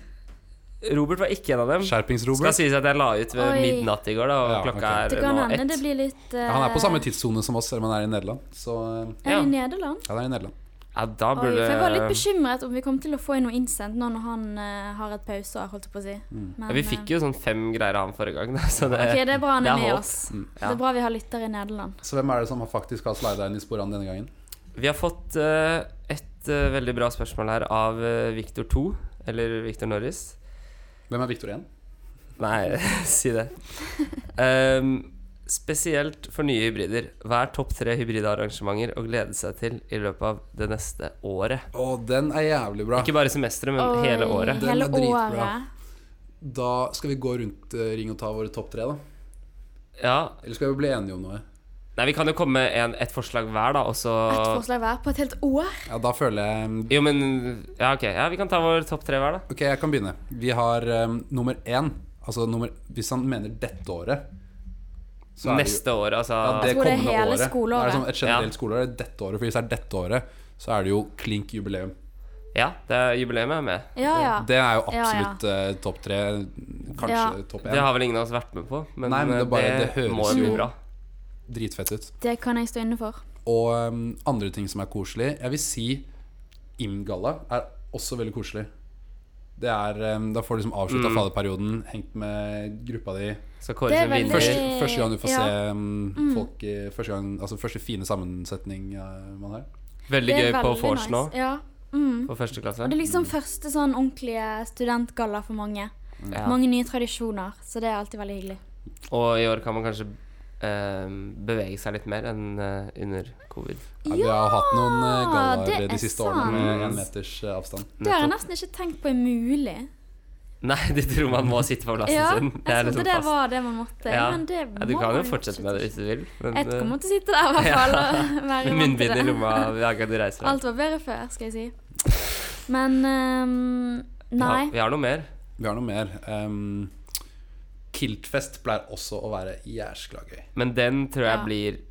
A: Robert var ikke en av dem. Skal
B: Skjerpings-Robert.
A: sies at jeg la ut ved
C: Oi.
A: midnatt i går, da, og
B: Ja,
A: klokka
B: ok.
C: Det
A: er
C: kan
A: nå
C: hende det
A: ett.
C: blir litt
B: Ja, han er på samme
C: tid.
B: tidssone som oss, selv om han er i Nederland. Så eh,
C: Er
A: Ja.
C: i Nederland?
B: ja, han er i Nederland.
A: Ja, da
C: Oi,
A: burde
C: for jeg var litt bekymret om vi kom til å få inn noe innsendt nå når han eh, har et pauser, holdt jeg på å si. Men,
A: ja, Vi fikk jo sånn fem greier av ham forrige gang, da, så det,
C: eh, Ok, det er bra han
A: det
C: er Mm,
A: er
C: med
A: håp.
C: oss.
A: ja.
C: Det er bra vi har lyttere i Nederland.
B: Så hvem er det som har faktisk har slida inn i sporene denne gangen?
A: Vi har fått eh, et eh, veldig bra spørsmål her av eh, Victor 2, eller Victor Norris.
B: Hvem er Victor 1?
A: Nei, si det. Ehm, spesielt for nye hybrider. Hva er topp tre hybridarrangementer å glede seg til i løpet av det neste året?
B: Å, den er jævlig bra.
A: Ikke bare semesteret, men
C: Oi,
A: hele året.
B: Den
C: Hele
B: er dritbra.
C: året.
B: Da skal vi gå rundt eh, ring og ta våre topp tre, da.
A: Ja.
B: Eller skal vi bli enige om noe?
A: Nei, vi kan jo komme med en- et forslag hver, da, og
C: Ett
A: så
C: forslag hver på et helt år.
B: Ja, da føler jeg
A: Jo, men Ja, ok. Ja, vi kan ta vår topp tre hver, da.
B: Ok, jeg kan begynne. Vi har eh, nummer én. Altså nummer Hvis han mener dette året, så er det jo-
A: Neste år, altså.
B: Ja, det
C: tror det er
B: kommende
C: hele
B: året.
C: skoleåret.
B: Er det sånn et generelt
A: Ja.
B: skoleår? Dette året. For hvis det er dette året, så er det jo klink jubileum.
A: Ja, det er jubileet er med.
C: Ja, ja.
B: Det er jo
C: Ja, ja.
B: absolutt eh, topp tre. Kanskje
C: Ja.
B: topp
A: Det
B: én.
A: har vel ingen av oss vært med på, men,
B: Nei, men det
A: eh,
B: bare-
A: det,
B: det høres
A: må jo bli
B: jo-
A: bra.
B: Dritfett ut.
C: Det kan jeg stå inne for.
B: Og um, andre ting som er koselig Jeg vil si Imgalla er også veldig koselig. Det er, um, da får du liksom avslutta
A: Mm.
B: faderperioden, hengt med gruppa di.
A: Skal kåres
C: Det er
A: en vinner.
B: Første,
C: Veldig-
B: første gang du får
C: ja. Mm.
B: se um, folk i, første, gang, altså første fine sammensetning uh, man har.
A: Veldig
C: Det er
A: gøy på
C: veldig
A: vors nå,
C: nice. Ja. Mm.
A: på første klasse.
C: Og det er liksom første sånn ordentlige studentgalla for mange.
A: Ja.
C: Mange nye tradisjoner, så det er alltid veldig hyggelig.
A: Og i år kan man kanskje eh, bevege seg litt mer enn eh, under covid.
B: Ja, vi har hatt noen
A: eh,
B: uh,
C: det
B: gallaer
C: er
B: de siste årene
A: sant.
B: med én meters uh, avstand.
C: Det har jeg nesten ikke tenkt på er mulig.
A: Nei, de tror man må sitte på plassen
C: Ja, jeg
A: sin. er
C: trodde
A: liksom
C: det
A: fast.
C: var det man måtte,
A: Ja.
C: men det må
A: ja, du kan jo
C: man
A: fortsette med det hvis du vil. Men
C: Jeg
A: eh,
C: kommer til å sitte der i hvert fall og være vant til
A: munnbind i
C: det.
A: lomma hver gang du reiser deg.
C: Alt var bedre før, skal jeg si. Men ehm, nei.
A: Ja, vi har noe mer.
B: Vi har noe mer. Um, Kiltfest pleier også å være jæskla gøy.
A: Men den tror jeg
C: Ja.
A: blir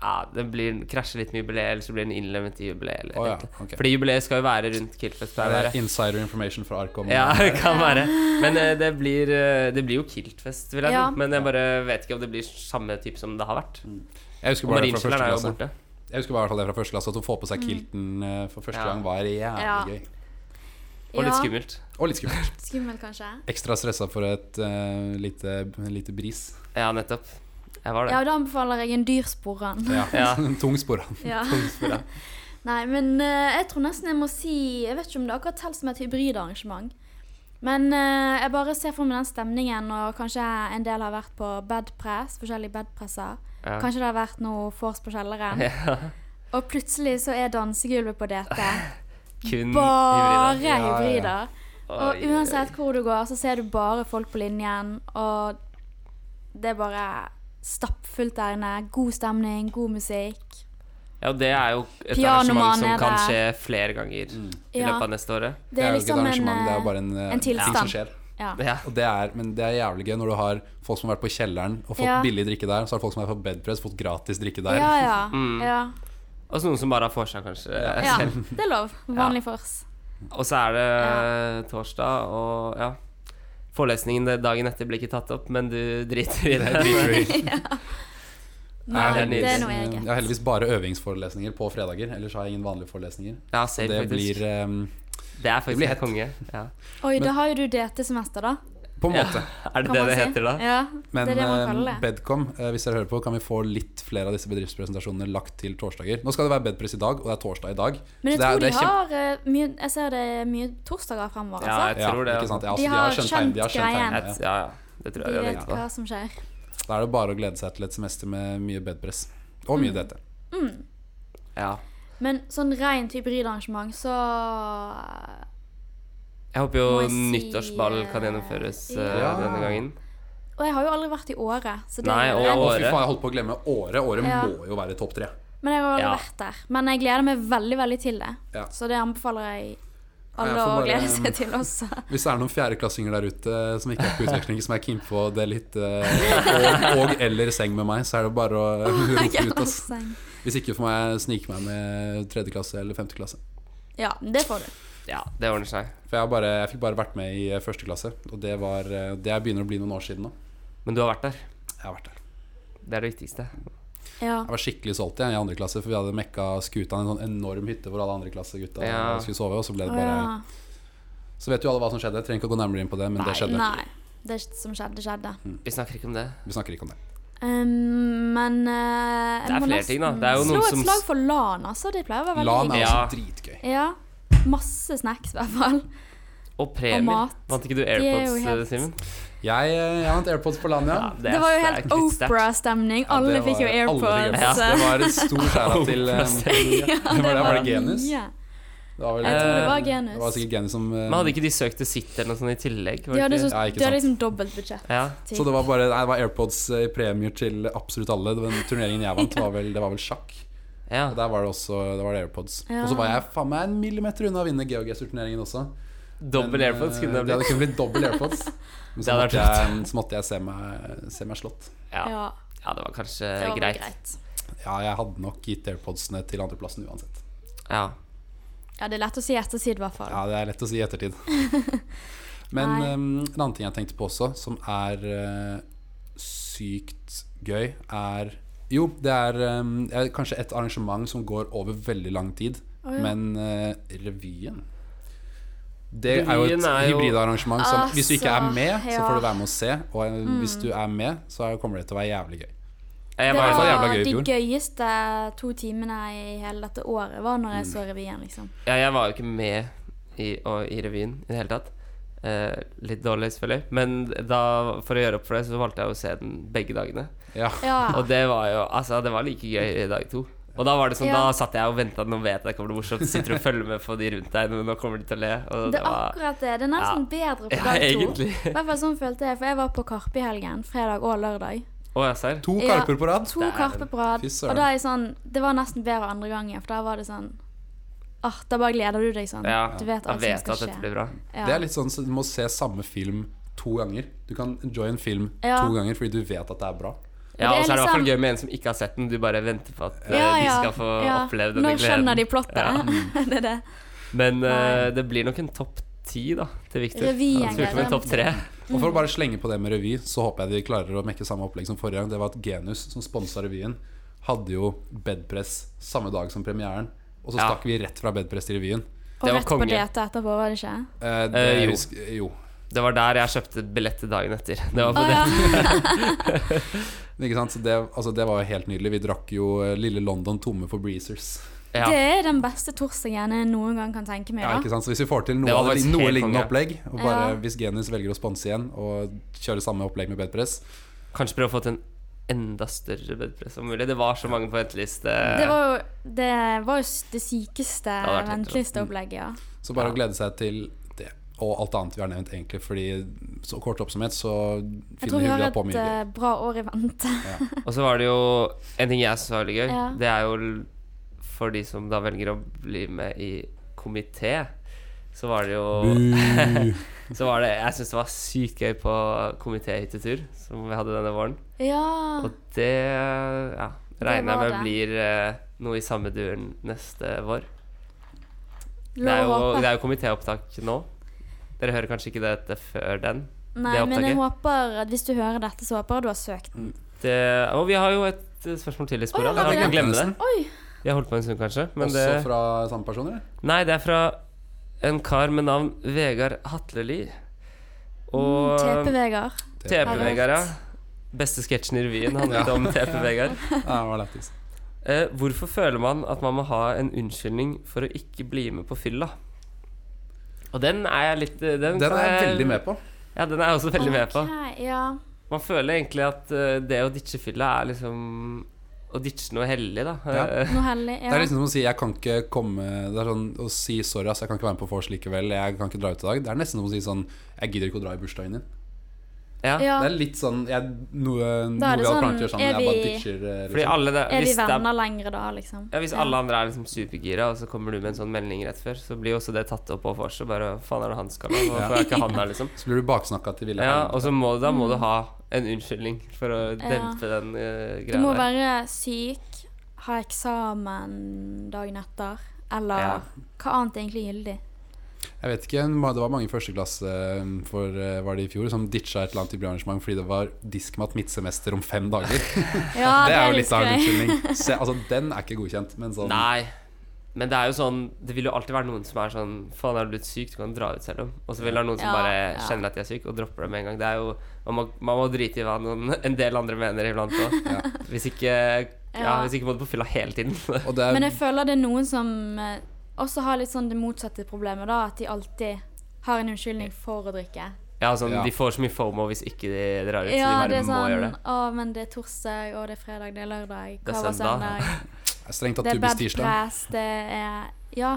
A: ja, det blir, krasjer litt med jubileet, eller så blir den innlemmet i jubileet. Eller,
B: Å ja,
A: egentlig.
B: ok.
A: Fordi jubileet skal jo være rundt Kiltfest. pleier å
B: Er
A: være.
B: det insider information fra uh, Arkom?
A: Ja, det kan være. Men eh, det blir, eh, det blir jo Kiltfest, vil jeg
C: Ja.
A: tro. Men jeg bare vet ikke om det blir samme type som det har vært.
B: Jeg husker
A: Og
B: bare det
A: Marienskjelleren
B: fra
A: er
B: første
A: jo
B: klasse.
A: borte.
B: Jeg husker bare i hvert fall det fra første klasse At å få på seg kilten eh, for første
A: Ja.
B: gang var jævlig
C: Mm. Ja.
B: gøy.
A: Og litt
C: Ja,
A: skummelt.
B: Og litt skummelt.
C: Skummelt, kanskje.
B: Ekstra stressa for et eh, lite, en lite bris.
A: Ja, nettopp. Jeg var det.
C: Ja, og da anbefaler jeg en dyr sporran.
B: Ja.
A: Ja.
B: En Tung sporran.
C: Ja. Nei, men eh, jeg tror nesten jeg må si Jeg vet ikke om det akkurat teller som et hybridarrangement. Men eh, jeg bare ser for meg den stemningen, og kanskje en del har vært på bedpress, forskjellige bedpresser.
A: Ja.
C: Kanskje det har vært noe vors på kjelleren.
A: Ja.
C: Og plutselig så er dansegulvet på DT
A: Kun
C: bare
A: hybrider.
B: Ja, ja, ja.
C: hybrider. Og
A: Oi, oi,
C: uansett hvor du går, så ser du bare folk på linjen, og det er bare stappfullt der inne. God stemning, god musikk.
A: Ja, det er jo et arrangement
C: Pianoman er
A: som kan
C: det.
A: skje flere ganger
B: Mm.
A: i
C: Ja.
A: løpet av neste året.
C: Det er,
B: jo ikke
C: liksom
B: et
C: en,
B: arrangement, det er jo
C: eh,
B: bare en, eh,
C: en tilstand.
B: ting som skjer.
C: ja.
A: Ja.
B: Og det er, men det er jævlig gøy når du har folk som har vært på kjelleren og fått
C: Ja.
B: billig drikke der. Så har folk som har vært på bedpress, fått gratis drikke der.
C: Ja, ja. ja.
A: Og så noen som bare har vorsa, kanskje. eh,
C: ja. Det er lov. Vanlig fors.
A: Og så er det eh, torsdag, og ja Forelesningen det- dagen etter blir ikke tatt opp, men du driter i det. det
C: Nei,
A: er
C: det er
A: nydelig.
C: noe
B: Jeg
C: eget.
B: har heldigvis bare øøvingsforelesninger på fredager. Ellers har jeg ingen vanlige forelesninger.
A: Ja,
B: Så
A: safe,
B: det
A: faktisk.
B: blir eh,
A: det er faktisk
B: blir
A: helt
B: hett.
A: konge. Ja.
C: Oi, da har jo du DT-semester, da.
B: på en måte.
A: Er det
C: Kan
A: det
C: man
A: det
C: si.
A: heter da?
C: Ja,
B: Men
C: det er det man
B: eh,
C: kaller det.
B: Bedcom, eh, hvis dere hører på, kan vi få litt flere av disse bedriftspresentasjonene lagt til torsdager. Nå skal det være Bedpress i dag, og det er torsdag i dag.
C: Men jeg
B: det er,
C: tror de
B: det er kjempe-
C: har eh, mye Jeg ser det er mye torsdager fremover,
A: Ja,
C: altså.
A: jeg tror det.
B: ikke sant? Ja,
A: altså.
B: altså,
C: De
B: de
C: har
B: har skjønt tegn- de har
C: skjønt
B: skjønt
A: Ja,
B: tegnet,
C: greien.
B: ja.
A: ja, Det tror jeg
C: De
A: de har
C: vet
A: tenkt på.
C: hva som skjer.
B: Da er det bare å glede seg til et semester med mye bedpress. Og
C: Mm.
B: mye DT.
A: Ja.
C: Men sånn rent hybridarrangement, så
A: Jeg håper jo
C: Må jeg si,
A: nyttårsball kan gjennomføres eh,
B: Ja.
A: denne gangen.
C: Og jeg har jo aldri vært i Åre, så det
A: Nei,
C: er jo
A: og-
B: Å,
C: rent.
B: fy faen, jeg holdt på å glemme året. Året
C: Ja.
B: må jo være topp tre.
C: Men jeg har aldri
A: Ja.
C: vært der. Men jeg gleder meg veldig, veldig til det.
B: Ja.
C: Så det anbefaler jeg
B: Ja,
C: alle
B: jeg får
C: å
B: bare-
C: glede seg til også.
B: Hvis det er noen fjerdeklassinger der ute eh, som ikke er på utveksling, som er keen på å dele hytte eh, og, og eller seng med meg, så er det bare å rope ut. Ass. Hvis ikke får jeg snike meg med tredje klasse eller femte klasse.
C: Ja, det får du.
A: Ja, det ordner seg.
B: For jeg, har bare, jeg fikk bare vært med i eh, første klasse, og det, var, eh, det begynner å bli noen år siden nå.
A: Men du har vært der.
B: Jeg har vært der.
A: Det er det viktigste.
C: Ja.
B: Jeg var skikkelig solgt jeg, i andre klasse, for vi hadde mekka skuta en sånn enorm hytte hvor alle andre klassegutta
A: Ja.
B: skulle sove, og så ble det
C: Å,
B: bare
C: ja.
B: Så vet jo alle hva som skjedde, jeg trenger ikke å gå nærmere inn på det, men det skjedde. Mm.
C: Nei. Det som skjedde, skjedde.
A: Vi snakker ikke om det.
B: Vi snakker ikke om det.
C: Um, men eh,
A: Det er
C: jeg må
A: flere
C: nesten
A: ting, da. Det er jo noen
C: slå
A: som
C: et
A: s-
C: slag for LAN, altså. Det pleier å være veldig
B: LAN er
A: Ja.
B: også dritgøy.
C: Ja. Masse snacks, i hvert fall.
A: Og premier.
C: Og mat.
A: Vant ikke du
C: er jo
A: AirPods, eh,
C: helt-
A: Simen?
B: Jeg, eh, jeg har hatt AirPods på LAN, ja.
A: Ja,
C: Det,
A: er
C: var jo
A: sterkt.
C: helt Opera-stemning.
B: Ja,
C: alle
B: det
C: fikk jo
B: var- alle fikk AirPods.
C: AirPods.
B: det var en stor skjæra til eh, det var, det, var det genus?
C: Ja.
B: Det var, vel,
C: Jeg tror det var
B: det var
C: genus.
B: sikkert genus som eh,
A: Men hadde ikke de søkt til sitt eller noe sånt i tillegg? var
C: De hadde,
A: det
C: så,
A: ikke?
B: Ja, ikke
C: de hadde
B: sant.
C: liksom dobbelt budsjett.
A: ja.
B: Så det var bare nei, det var AirPods i premier til absolutt alle. Det var Den turneringen jeg vant, var vel, det var vel sjakk.
A: ja.
B: Og der var det også der var det AirPods.
C: Ja.
B: Og så var jeg faen meg en millimeter unna å vinne geogesterturneringen også.
A: Dobbel AirPods kunne det
B: blitt. Det
A: blitt.
B: kunne blitt dobbel AirPods. Men så,
A: Det hadde
B: måtte
A: vært
B: jeg, så måtte jeg se meg, se meg slått.
A: Ja.
C: Ja,
A: ja, det var kanskje
C: det var vel
A: greit.
C: greit.
B: Ja, jeg hadde nok gitt AirPodsene til andreplassen uansett.
A: Ja.
C: Ja, det er lett å si i ettertid, i hvert fall.
B: Ja, det er lett å si i ettertid. Men
C: Nei.
B: em, en annen ting jeg tenkte på også, som er eh, sykt gøy, er Jo, det er, em, det er kanskje et arrangement som går over veldig lang tid,
C: Å, ja.
B: men eh, revyen det er jo et
A: Revyen er jo-
B: hybridarrangement som Hvis du ikke er
C: Altså,
B: med, så
C: ja. Mm.
B: får du være med og se. Og eh, hvis du er med, så er- kommer det til å være jævlig gøy.
A: Jeg
C: Det
A: var,
B: fall
C: var
B: jævla gøy i
C: de
B: fjor.
C: gøyeste to timene i hele dette året var når jeg så revyen, liksom.
A: ja, jeg var jo ikke med i, og, i revyen i det hele tatt. Eh, litt dårlig, selvfølgelig. Men da, for å gjøre opp for det, så valgte jeg å se den begge dagene.
B: Ja.
C: Ja.
A: Og det var jo Altså, det var like gøy i dag to. Og da var det sånn,
C: Ja.
A: da satt jeg og venta nå vet jeg det kommer til å bli morsomt. Sitter og følger med på de rundt deg, nå- nå kommer de til å le. Og
C: Det er akkurat det. Det er nesten bedre på
A: Ja,
C: dag to.
A: egentlig.
C: I hvert fall sånn følte jeg, for jeg var på Karpe i helgen. Fredag og lørdag.
A: Å, ja, serr?
B: To
C: Ja.
B: karper på rad.
C: To Karpe på rad.
B: Fy søren.
C: Og da er jeg sånn Det var nesten bedre andre gangen, for da var det sånn Ah, da bare gleder du deg sånn.
A: Ja,
C: Du vet
A: da
C: alt
A: vet
C: som
A: jeg
C: skal
A: at dette
C: skje.
A: blir bra.
C: Ja.
B: Det er litt sånn så du må se samme film to ganger. Du kan enjoy en film
C: Ja.
B: to ganger fordi du vet at det er bra.
A: Ja,
C: det er
A: og så er det i hvert fall
C: liksom-
A: gøy med en som ikke har sett den. Du bare venter på at eh,
C: Ja,
A: de
C: ja,
A: skal få
C: ja.
A: oppleve
C: Nå
A: denne
C: skjønner de
A: gleden.
C: plottet.
A: Ja.
C: det er det.
A: Men eh,
C: Nei.
A: det blir nok en topp ti, da, til Victor.
C: Revyen
A: Han spurte om en
C: gleder
A: topp tre.
B: Og
C: Mhm.
B: for å bare slenge på det med revy, så håper jeg de klarer å mekke samme opplegg som forrige gang. Det var at Genus, som sponsa revyen, hadde jo bedpress samme dag som premieren. Og så
A: Ja.
B: stakk vi rett fra bedpress til revyen.
C: Og
A: Det var
C: rett på
A: konge.
C: DT etterpå, var det ikke?
B: Eh, det,
A: Eh, jo.
B: husker- jo.
A: Det var der jeg kjøpte billett til dagen etter. Det var på
C: Å
A: det.
C: ja.
B: Ikke sant? Så det, altså, det var jo helt nydelig. Vi drakk jo eh, lille London tomme for breezers.
A: Ja.
C: Det er den beste torsdagen jeg noen gang kan tenke meg.
B: Ja,
C: Da.
B: ikke sant? Så hvis vi får til
A: Det
B: noe,
A: var
B: av det-
A: faktisk
B: noe
A: helt
B: lignende
A: konge.
B: opplegg, og bare
C: Ja.
B: hvis Genus velger å sponse igjen og kjøre samme opplegg med bedpress
A: Kanskje prøve å få til en enda større bedpress om mulig. Det var så mange på venteliste.
C: Det var jo det, var jo s- det sykeste
A: hadde vært helt
C: ventelisteopplegget, ja.
B: Så bare å glede seg til det, og alt annet vi har nevnt, egentlig. Fordi så kort oppsummert så
C: Jeg
B: finner
C: tror
B: vi
C: vi har
B: hyggelig at
C: et
B: påmye.
C: eh, bra år i vente.
A: Og så var det jo en ting jeg syns var veldig gøy.
C: Ja.
A: Det er jo l- for de som da velger å bli med i komité, så var det jo Så var det Jeg syns det var sykt gøy på komitéhyttetur som vi hadde denne våren.
C: Ja.
A: Og det ja, regner
C: var
A: jeg
C: det.
A: med blir eh, noe i samme duren neste vår. Det er
C: Lov å
A: jo, det
C: håpe.
A: er jo komitéopptak nå. Dere hører kanskje ikke dette før den.
C: Nei,
A: det er
C: men jeg
A: opptaket.
C: håper at hvis du hører dette, så håper jeg du har søkt den.
A: Det, og vi har jo et eh, spørsmål til i sporet. Vi
C: Å, ja,
A: har ikke
B: hadde vi det?
A: glemt det.
C: Oi!
A: Vi har holdt på en stund, kanskje. Men
B: Også
A: det
B: fra samme person, eller?
A: Nei, det er fra en kar med navn Vegard Hatleli. Og
C: TP Mm, Vegard.
A: TP-Vegard, ja. Beste sketsjen i revyen handlet om TP-Vegard.
B: Ja, det var lættis.
A: Eh, hvorfor føler man at man må ha en unnskyldning for å ikke bli med på fylla? Og den er jeg litt eh, Den,
B: Den er jeg veldig med på.
A: Ja, den er jeg også veldig med på.
C: Ok, ja.
A: Man føler egentlig at eh, det å ditche fylla er liksom å ditche noe hellig, da.
B: Ja.
A: Eh,
C: Noe hellig.
B: Det er
C: Ja.
B: liksom som å si jeg kan ikke komme Det er sånn å si sorry, ass, jeg kan ikke være med på vors likevel, jeg kan ikke dra ut i dag. Det er nesten som å si sånn Jeg gidder ikke å dra i bursdagen din.
A: ja.
C: ja.
B: Det er litt sånn jeg, Noe, noe
C: Da er det
B: vi hadde
C: sånn,
B: planlagt å gjøre sammen,
C: er
B: jeg bare
C: vi-
B: ditcher. eh,
A: Fordi
B: Liksom.
A: alle det,
C: Er vi
A: hvis det er
C: venner lenger da, liksom?
A: Ja, Hvis
C: Ja.
A: alle andre er liksom supergira, og så kommer du med en sånn melding rett før, så blir jo også det tatt opp på vors. og Bare faen er det han skal ha? Hvorfor er ikke han her, liksom?
B: Så blir du baksnakka til ville
A: Ja,
B: helvete.
A: og så må, da
C: Mm.
A: må du ha en unnskyldning for å dempe den eh,
C: Du må
A: greia der.
C: være syk, ha eksamen dagen etter, eller
A: Ja.
C: hva annet er egentlig gyldig?
B: Jeg vet ikke, ma- det var mange i første klasse um, for, eh, var det i fjor, som ditcha et eller annet jubileumsarrangement fordi det var diskmat midtsemester om fem dager.
C: Ja,
B: det er jo litt av en
C: gøy.
B: unnskyldning. Se, altså, den er ikke godkjent, men sånn
A: Nei. Men det er jo sånn Det vil jo alltid være noen som er sånn Faen, er du blitt syk? Du kan dra ut selv om. Og så vil det være noen som
C: Ja,
A: bare
C: ja.
A: kjenner at de er syk, og dropper det med en gang. Det er jo Man må, man må drite i hva noen, en del andre mener iblant òg. Hvis ikke ja,
C: Ja.
A: hvis ikke må du på fylla hele tiden.
B: Og det
C: Men
B: er,
C: jeg føler det er noen som eh, også har litt sånn det motsatte problemet, da. At de alltid har en unnskyldning for å drikke.
A: Ja, sånn,
B: Ja.
A: De får så mye fomo hvis ikke de drar ut,
C: Ja,
A: så de
C: det
A: bare
C: er
A: må
C: sånn
A: gjøre det.
C: Å, men det er torsdag, og det er fredag, det er lørdag,
A: Det er
C: hva var
A: søndag.»
C: søndag?
B: strengt tatt
C: Det er
B: tubis
C: bad
B: tirsdag.
C: press, det er Ja.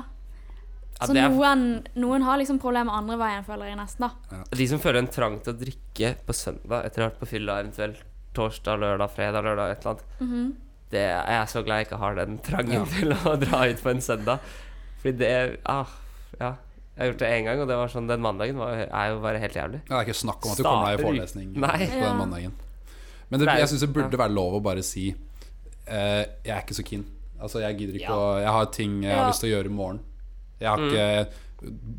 A: Ja,
C: Så
A: det er-
C: noen, noen har liksom problemer andre veien, føler jeg nesten, da.
A: De som føler en trang til å drikke på søndag etter å ha vært på fylla, eventuelt torsdag, lørdag, fredag, lørdag, et eller annet
C: Mhm.
A: det, Jeg er så glad jeg ikke har den trangen
B: Ja.
A: til å dra ut på en søndag. Fordi det ah, Ja. Jeg har gjort det én gang, og det var sånn, den mandagen var, jo- er jo bare helt jævlig.
B: Ja, Det er ikke snakk om at du kommer deg i
A: Starter u-
B: forelesning
A: Nei.
B: på
C: Ja.
B: den mandagen. Men det,
A: Det er jo-
B: jeg syns det burde være lov å bare si eh, Jeg er ikke så keen. Altså, jeg gidder ikke å Jeg har ting jeg har
C: Ja.
B: lyst til å gjøre i morgen. Jeg
A: Mm.
B: har ikke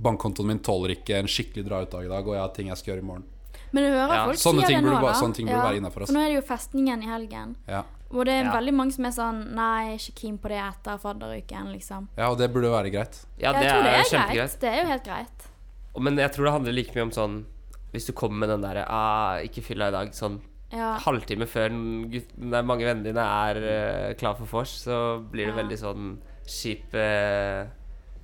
B: Bankkontoen min tåler ikke en skikkelig dra-ut-dag i dag, og jeg har ting jeg skal gjøre i morgen.
C: Men du hører
A: Ja,
C: folk
B: sånne
C: sier
B: ting
C: det nå,
B: burde bare-
C: da.
B: sånne ting burde være innenfor oss.
C: For nå er det jo festningen i helgen.
B: Ja
C: Og det er
A: Ja.
C: veldig mange som er sånn Nei, ikke keen på det etter fadderuken, liksom.
B: Ja, og det burde være greit.
A: Ja,
C: jeg
A: det
C: tror det
A: er
C: er greit.
A: kjempegreit.
C: Det er jo helt greit.
A: Og- Men jeg tror det handler like mye om sånn Hvis du kommer med den derre ah, 'Ikke fylla i dag', sånn
C: Ja.
A: halvtime før den gutt- nei, mange vennene dine er eh, klar for vors, så blir det
C: Ja.
A: veldig sånn kjip eh,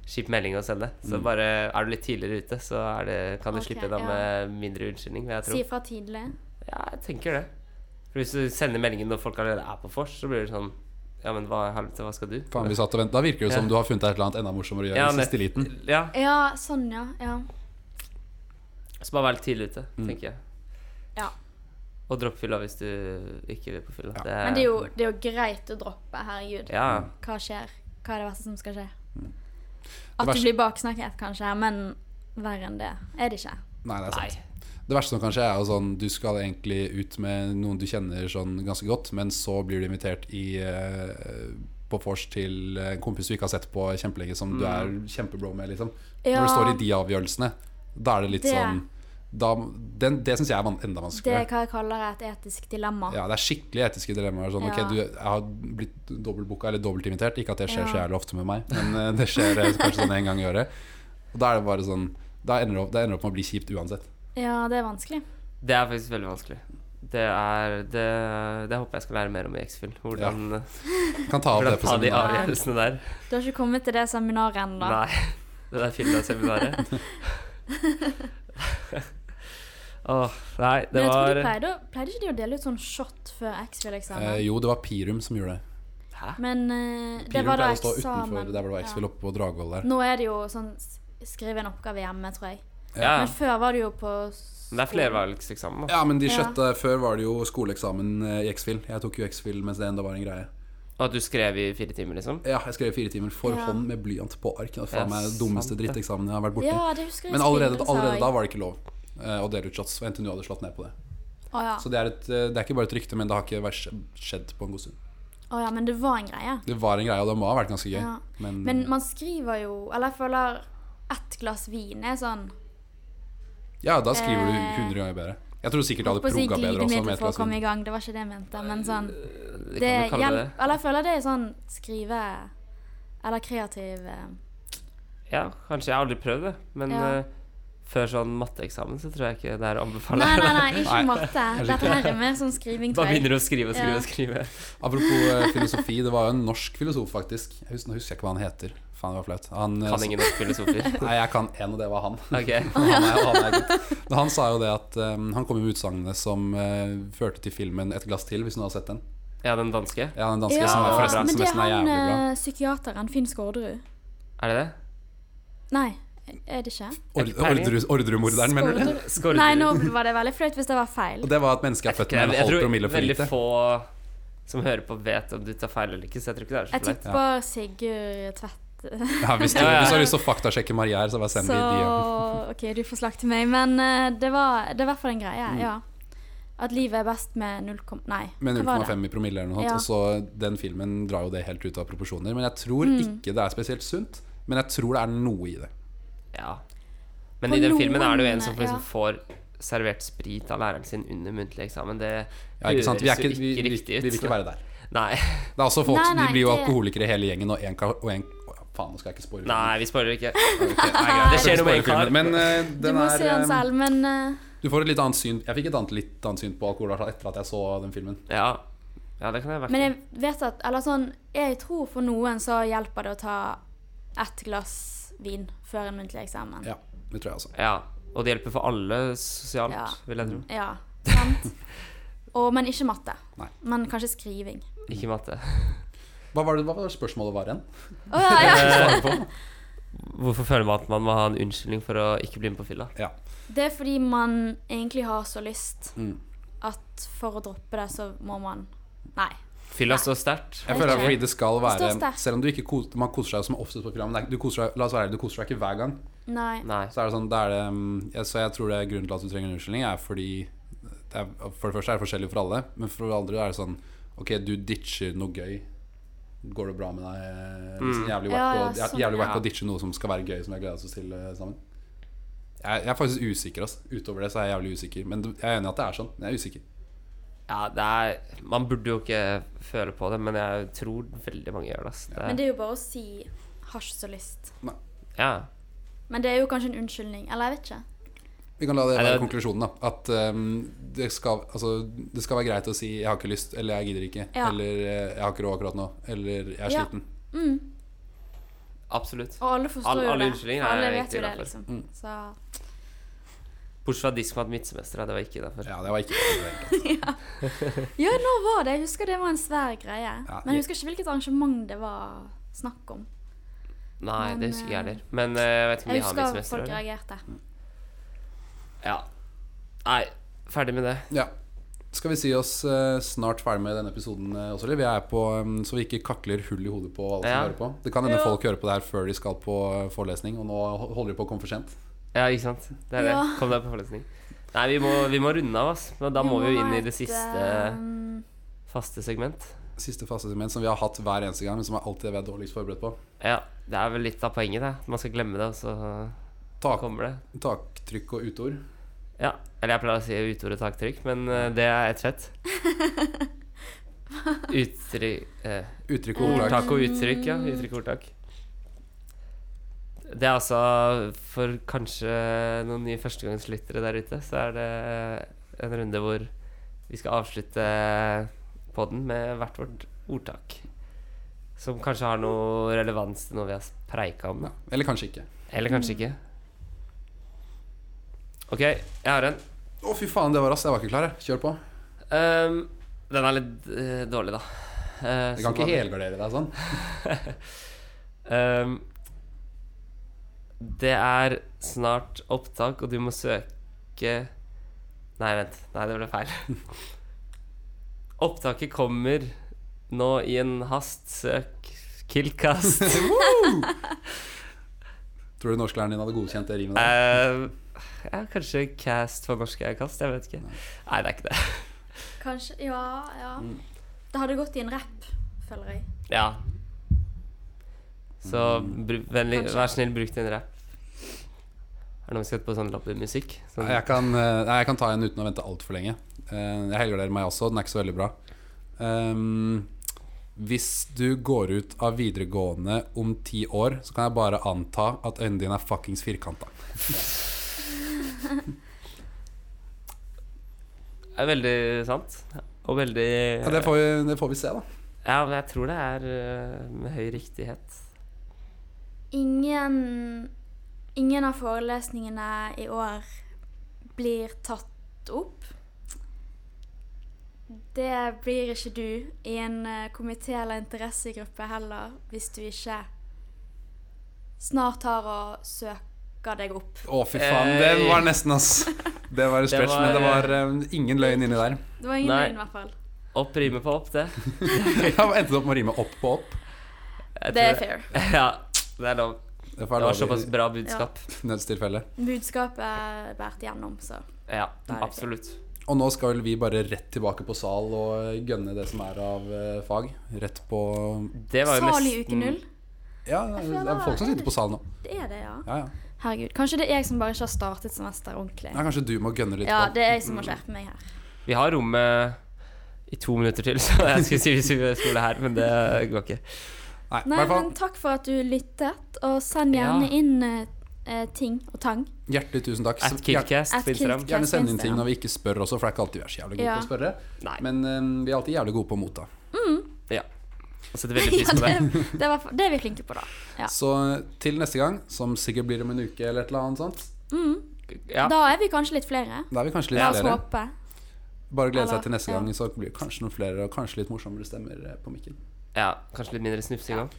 A: Kjip melding å sende. Så
B: Mm.
A: bare er du litt tidligere ute, så er det, kan du
C: Ok,
A: slippe unna
C: ja.
A: med mindre unnskyldning. vil Jeg
C: Si
A: tro.
C: fra tidlig.
A: Ja, jeg tenker det. For hvis du sender meldingen når folk allerede er på vors, så blir det sånn Ja, men hva, i helvete, hva skal du?
B: Faen, vi satt og ventet. Da virker det som
A: Ja.
B: du har funnet et eller annet enda morsommere å gjøre
A: Ja,
B: i siste liten.
A: Ja,
C: Ja, sånn, ja. Ja.
A: så bare vær litt tidlig ute,
B: Mm.
A: tenker jeg.
C: ja.
A: Og dropp fylla hvis du ikke vil på fylla. Det er-
C: Men det
B: Eh.
C: er, jo, det er jo greit å droppe. Herregud.
A: Ja.
B: Mm.
C: Hva skjer? Hva er det verste som skal skje? At
B: verste-
C: du blir baksnakket, kanskje, men verre enn det er det ikke.
B: Nei, det er
A: Nei.
B: sant. Det verste som kanskje er jo sånn Du skal egentlig ut med noen du kjenner sånn ganske godt, men så blir du invitert i eh, på vors til en kompis du ikke har sett på kjempelenge, som du er kjempebro med, liksom.
C: Ja.
B: Når du står i de avgjørelsene, da er det litt
C: Det-
B: sånn da, den, Det syns jeg er van- enda
C: Det
B: vanskeligere.
C: er hva jeg kaller et etisk dilemma.
B: Ja, det er skikkelig etiske dilemmaer. Sånn,
C: Ja.
B: Ok, du jeg har blitt dobbeltbooka eller dobbeltinvitert. Ikke at det skjer
C: Ja.
B: så jævlig ofte med meg, men eh, det skjer eh, kanskje sånn en gang i året. Og da er det bare sånn Da ender det opp, det ender opp med å bli kjipt uansett.
C: Ja, det er vanskelig.
A: Det er faktisk veldig vanskelig. Det er Det, det håper jeg skal lære mer om i X-Film. Hvordan,
B: Kan ta opp det
A: hvordan
B: på
A: ta de
B: seminaret.
A: avgjørelsene der.
C: Du har ikke kommet til det seminaret ennå.
A: Nei. Det der Filda-seminaret. Åh, nei, det
C: Men jeg tror
A: var
C: de pleide, å- pleide ikke de å dele ut sånn shot før
B: Eh,
C: X-Fill-eksamen?
B: jo, det var Pirum som gjorde det.
A: Hæ?
C: Men eh, det
B: Pirum
C: var da
B: pleide å stå
C: eksamen.
B: utenfor der hvor det var X-Fill oppe på Dragvoll
C: Ja.
B: der.
C: Nå er det jo sånn s- Skriv en oppgave hjemme, tror jeg.
A: Ja.
C: Men før var det jo på
A: Men det er flervalgseksamen, da.
B: Ja, men de
C: Ja.
B: skjøtta Før var det jo skoleeksamen eh, i X-Fill. Jeg tok jo X-Fill mens det enda var en greie.
A: Og at du skrev i fire timer, liksom.
B: Ja, jeg skrev fire timer for
C: Ja.
B: hånd med blyant på ark. Det var
A: Ja,
B: faen meg den dummeste
A: sant det.
B: dritteksamen jeg har vært borti.
C: Ja, det husker jeg.
B: Men allerede,
C: Skriven, sa
B: allerede
C: jeg.
B: da var det ikke lov eh, å dele ut shots, og NTNU hadde slått ned på det.
C: Å ja.
B: Så det er, et, eh, det er ikke bare et rykte, men det har ikke vært skje- skjedd på en god stund.
C: Å ja, men det var en greie.
B: Det var en greie, og det må ha vært ganske gøy.
C: Ja.
B: Men,
C: Men man skriver jo Eller jeg føler ett glass vin er sånn
B: ja, da skriver du
C: eh,
B: 100 ganger bedre. Jeg tror sikkert det hadde
C: Holdt på å si
B: progga bedre også. Med
C: glidemiddel
B: et
C: for å
B: glass
C: komme i
B: vin.
C: gang. Det var ikke det jeg mente, men sånn
A: Det
C: det
A: Eh, kan du kalle det.
C: hjelp- Eller jeg føler det er sånn skrive Eller kreativ eh,
A: Ja, kanskje. Jeg har aldri prøvd det. Men
C: Ja.
A: eh, før sånn matteeksamen så tror jeg ikke det er å anbefale.
C: Nei, nei, nei, ikke
B: Nei,
C: matte. Dette her er mer sånn skriving,
A: Bare
C: tror jeg.
A: begynner du å skrive og skrive
C: Ja.
A: og skrive.
B: Apropos eh, filosofi, det var jo en norsk filosof, faktisk. Jeg husker, nå husker jeg ikke hva han heter. Faen, det var flaut. Han, eh,
A: Kan ingen norske filosofer.
B: Nei, jeg kan én, og det var han.
A: Ok.
B: Han, er, han, er god. Men han sa jo det at eh, han kom jo med utsagnet som eh, førte til filmen 'Et glass til', hvis noen har sett den.
A: Ja, den danske.
B: Ja, den danske
C: Ja,
B: som er forresten
C: men
B: som
C: det er
B: nesten er
C: han
B: jævlig bra.
C: eh, psykiateren Finn Skårderud.
A: Er det det?
C: Nei, er det ikke?
B: Ord- Ordre- Ordremorderen, mener du?
C: Skårderud.
A: Skårderud.
C: Nei, nå var det veldig flaut hvis det var feil.
B: Og det var at mennesket er født med en
A: jeg
B: halv
A: tror
B: promille for
A: veldig
B: lite.
A: få som hører på, vet om du tar feil eller ikke, så jeg tror ikke det er så
C: Jeg
A: flaut.
C: tipper Sigurd Tvedt.
B: Ja, hvis, du,
A: Ja, ja, ja.
B: hvis du har lyst til å faktasjekke Marier, så bare send
C: Så
B: de
C: OK, du får slakte meg. Men eh, det, var, det er i hvert fall en greie, ja. At livet er best med 0, nei.
B: Mm. med
C: hva var det?
B: 0,5 i promille eller noe
C: Ja.
B: sånt. Og så den filmen drar jo det helt ut av proporsjoner. Men jeg
A: Mm.
B: tror ikke det er spesielt sunt. Men jeg tror det er noe i det.
A: Ja. Men i
C: På
A: den filmen er det jo en
C: noen,
A: som for
C: ja.
A: eksempel får servert sprit av læreren sin under muntlig eksamen. Det
B: Ja, ikke sant? Vi, er
A: høres jo
B: ikke, vi, vi, vi
A: riktig ut.
B: vil ikke være der.
A: Nei.
B: Det er også folk,
C: Nei, nei,
B: De blir jo
C: det-
B: alkoholikere hele gjengen, og en ka- og en- Å, Faen, nå skal jeg ikke spoile.
A: Nei, vi spoiler ikke.
B: filmen. Ok, nei, greit.
A: Det skjer noe med en
B: Jeg skal ikke spoile
A: kar.
B: filmen, Men eh,
C: Du
B: den
C: må
B: er,
C: se den
B: eh,
C: selv, men eh,
B: Du får et litt annet syn Jeg fikk et annet, litt annet syn på alkohol i hvert fall etter at jeg så den filmen.
A: Ja, ja det kan jeg
C: Men
A: være.
C: jeg vet at Eller sånn Jeg tror for noen så hjelper det å ta ett glass vin før en muntlig eksamen.
B: Ja, det tror jeg også.
A: Ja. Og det hjelper for alle sosialt,
C: Ja.
A: vil
B: Mm.
A: jeg tro.
C: Ja, sant? Og, men ikke matte.
B: Nei.
C: Men kanskje skriving.
A: Ikke matte.
B: Hva var det hva var det spørsmålet var igjen?
C: Å ja, ja.
B: Svare på.
A: Hvorfor føler man at man må ha en unnskyldning for å ikke bli med på fylla?
B: Ja.
C: Det er fordi man egentlig har så lyst
B: Mm.
C: at for å droppe det, så må man Nei.
A: Fylla står sterkt.
B: Jeg føler at fordi det skal være
C: står sterkt.
B: Selv om du ikke koser, man koser seg jo som oftest på program men det er ikke- du koser deg, La oss være ærlig, du koser deg ikke hver gang.
C: Nei.
A: Nei.
B: Så er det sånn det er det, mm, jeg, Så jeg tror det er grunnen til at du trenger en unnskyldning, er fordi det er, For det første er det forskjellig for alle, men for det andre er det sånn Ok, du ditcher noe gøy. Går det bra med deg? Liksom, jævlig
C: Ja,
B: wack
C: ja,
B: å- jæ-
C: sånn,
B: jævlig wack
A: ja.
B: å ditche noe som skal være gøy, som vi har gledet oss til eh, sammen. Jeg, jeg er faktisk usikker. Ass. Utover det så er jeg jævlig usikker. Men jeg er enig i at det er sånn. men Jeg er usikker.
A: Ja, det er Man burde jo ikke føle på det, men jeg tror veldig mange gjør det. ass.
C: Men
A: det
C: det er jo bare å si 'har ikke så lyst'.
A: ja.
C: Men det er jo kanskje en unnskyldning. Eller jeg vet ikke.
B: Vi kan la det
A: Nei,
B: være
A: det-
B: konklusjonen, da. At ehm, det, skal, altså, det skal være greit å si 'jeg har ikke lyst', eller 'jeg gidder ikke',
C: Ja.
B: eller eh, 'jeg har ikke råd akkurat nå', eller 'jeg er
C: Ja.
B: sliten'.
A: Absolutt.
C: Og alle forstår
A: Alle-
C: jo
A: alle
C: det.
A: unnskyldninger er
C: alle vet
A: egentlig
C: jo det,
A: derfor.
C: liksom. Så
A: Bortsett fra de som har hatt midtsemester, ja, det var ikke derfor.
B: Ja, det var ikke det var egentlig.
C: Ja, nå var det. Jeg husker det var en svær greie.
B: Ja,
C: Men
B: jeg-
C: jeg husker ikke hvilket arrangement det var snakk om.
A: Nei,
C: Men,
A: det husker ikke jeg
C: eh,
A: heller. Men eh, jeg vet ikke om de
C: Jeg
A: har
C: husker
A: midtsemester.
C: folk
A: eller?
C: reagerte.
A: Ja. Nei, ferdig med det.
B: Ja. Skal vi si oss eh, snart ferdig med denne episoden eh, også, eller? Vi er på, ehm, så vi ikke kakler hull i hodet på alle som
A: Ja.
B: hører på. Det kan hende
C: Ja.
B: folk hører på det her før de skal på eh, forelesning, og nå ho- holder de på å komme for sent.
A: Ja, ikke sant. Det er det.
C: Ja.
A: Kom deg på forelesning. Nei, vi må, vi må runde av, ass. Men da må vi jo inn i det siste
C: eh,
A: faste segment.
B: Siste faste segment som vi har hatt hver eneste gang, men som jeg alltid er dårligst forberedt på.
A: Ja, det er vel litt av poenget, det. Man skal glemme det, og så
B: Tak,
A: kommer det.
B: taktrykk og uteord.
A: Ja. Eller jeg pleier å si utordet taktrykk, men eh, det er ett fett. Uttrykk eh,
B: Uttrykk
C: Mm.
B: og ordtak.
A: Ordtak og uttrykk, ja. Uttrykk og ordtak. Det er altså for kanskje noen nye førstegangslyttere der ute, så er det en runde hvor vi skal avslutte podden med hvert vårt ordtak. Som kanskje har noe relevans til noe vi har preika om.
B: Ja, eller kanskje ikke.
A: Eller kanskje ikke. OK, jeg har en.
B: Å, fy faen, det var raskt. Jeg var ikke klar, jeg. Kjør på.
A: Ehm, den er litt eh, dårlig, da. Eh,
B: Jeg kan
A: som
B: ikke
A: vanlig.
B: helgardere deg sånn.
A: Ehm, det er snart opptak, og du må søke Nei, vent. Nei, det ble feil. Opptaket kommer nå i en hast. Søk Killcast.
B: Tror du norsklæreren din hadde godkjent det rimet der?
A: Ehm, ja, kanskje Cast for norske er kast? Jeg vet ikke. Nei, det er ikke det.
C: Kanskje Ja, ja.
A: Mm.
C: Det hadde gått i en rapp, føler jeg.
A: Ja. Så bru, vennlig,
C: Kanskje.
A: vær snill, bruk din rapp. Er det noen som skal på sånn lappemusikk? Sånn,
B: Jeg kan, eh, nei, jeg kan ta en uten å vente altfor lenge. Eh, Jeg helgarderer meg også. Den er ikke så veldig bra. Ehm, hvis du går ut av videregående om ti år, så kan jeg bare anta at øynene dine er fuckings firkanta.
A: er veldig sant. Og veldig
B: Ja, det, får vi, det får vi se, da.
A: Ja, men jeg tror det er øh, med høy riktighet.
C: Ingen, ingen av forelesningene i år blir tatt opp. Det blir ikke du i en eh, komité eller interessegruppe heller hvis du ikke snart har å søke deg opp.
B: Å, fy faen. Den var nesten, ass. Det var en
A: Det
B: stretch,
A: var-
B: men det var eh, ingen løgn inni der.
C: Det var ingen
A: Nei.
C: løgn, i hvert fall.
A: Opp rimer på opp, det.
B: Jeg endte opp med å rime opp på opp.
A: Jeg
C: Det er
A: tror
C: fair.
A: Ja, det er lov.
B: Det
A: Det
B: får
A: var
B: jeg lage
A: såpass bra budskap.
B: i nødstilfelle.
C: Budskapet er båret gjennom, så
A: Ja,
C: Det er det.
A: absolutt.
B: Og nå skal vel vi bare rett tilbake på sal og eh, gønne det som er av eh, fag. Rett på
A: Det var jo
C: Sal i uke
A: nesten
C: null.
B: Ja, det er folk som sitter på sal nå.
C: Det er det, ja.
B: Ja, ja.
C: Herregud. Kanskje det er jeg som bare ikke har startet semester ordentlig.
B: ja kanskje du må gønne litt
C: Ja,
B: på.
C: det er jeg som må skjerpe meg her.
A: Vi har rommet i to minutter til, så jeg skulle si hvis vi skulle her, men det går ikke.
B: Nei, i
C: Nei,
B: hvert fall
C: men takk for at du lyttet, og send
A: Ja.
C: gjerne inn eh, eh, ting og tang.
B: hjertelig tusen takk.
A: At
B: Gjerne-
A: Killcast
C: At
A: på Instagram.
C: Killcast.
B: Gjerne send inn
C: Killcast,
B: ting
C: ja.
B: når vi ikke spør også, for det er ikke alltid vi er så jævlig gode
C: Ja.
B: på å spørre.
A: Nei.
B: Men eh, vi er alltid jævlig gode på å motta.
A: Ja. Jeg setter veldig pris på det.
C: det, det, var, det er vi flinke på, da. Ja.
B: Så til neste gang, som sikkert blir om en uke eller et eller annet sånt,
A: Ja,
C: Da er vi kanskje litt flere.
B: da er vi kanskje litt
C: La oss
B: flere.
C: håpe.
B: Bare glede
C: Eller-
B: seg til neste
C: ja.
B: gang, så blir det kanskje noen flere og kanskje litt morsommere stemmer eh, på mikken.
A: ja kanskje litt mindre snufsing òg.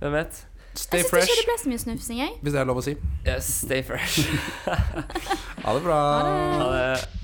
A: Hvem vet?
B: Stay
C: Jeg syns ikke
B: fresh,
C: det ble så mye snufsing, jeg.
B: hvis det er lov å si.
A: Yes, stay fresh.
B: Ha det bra.
A: Ha det.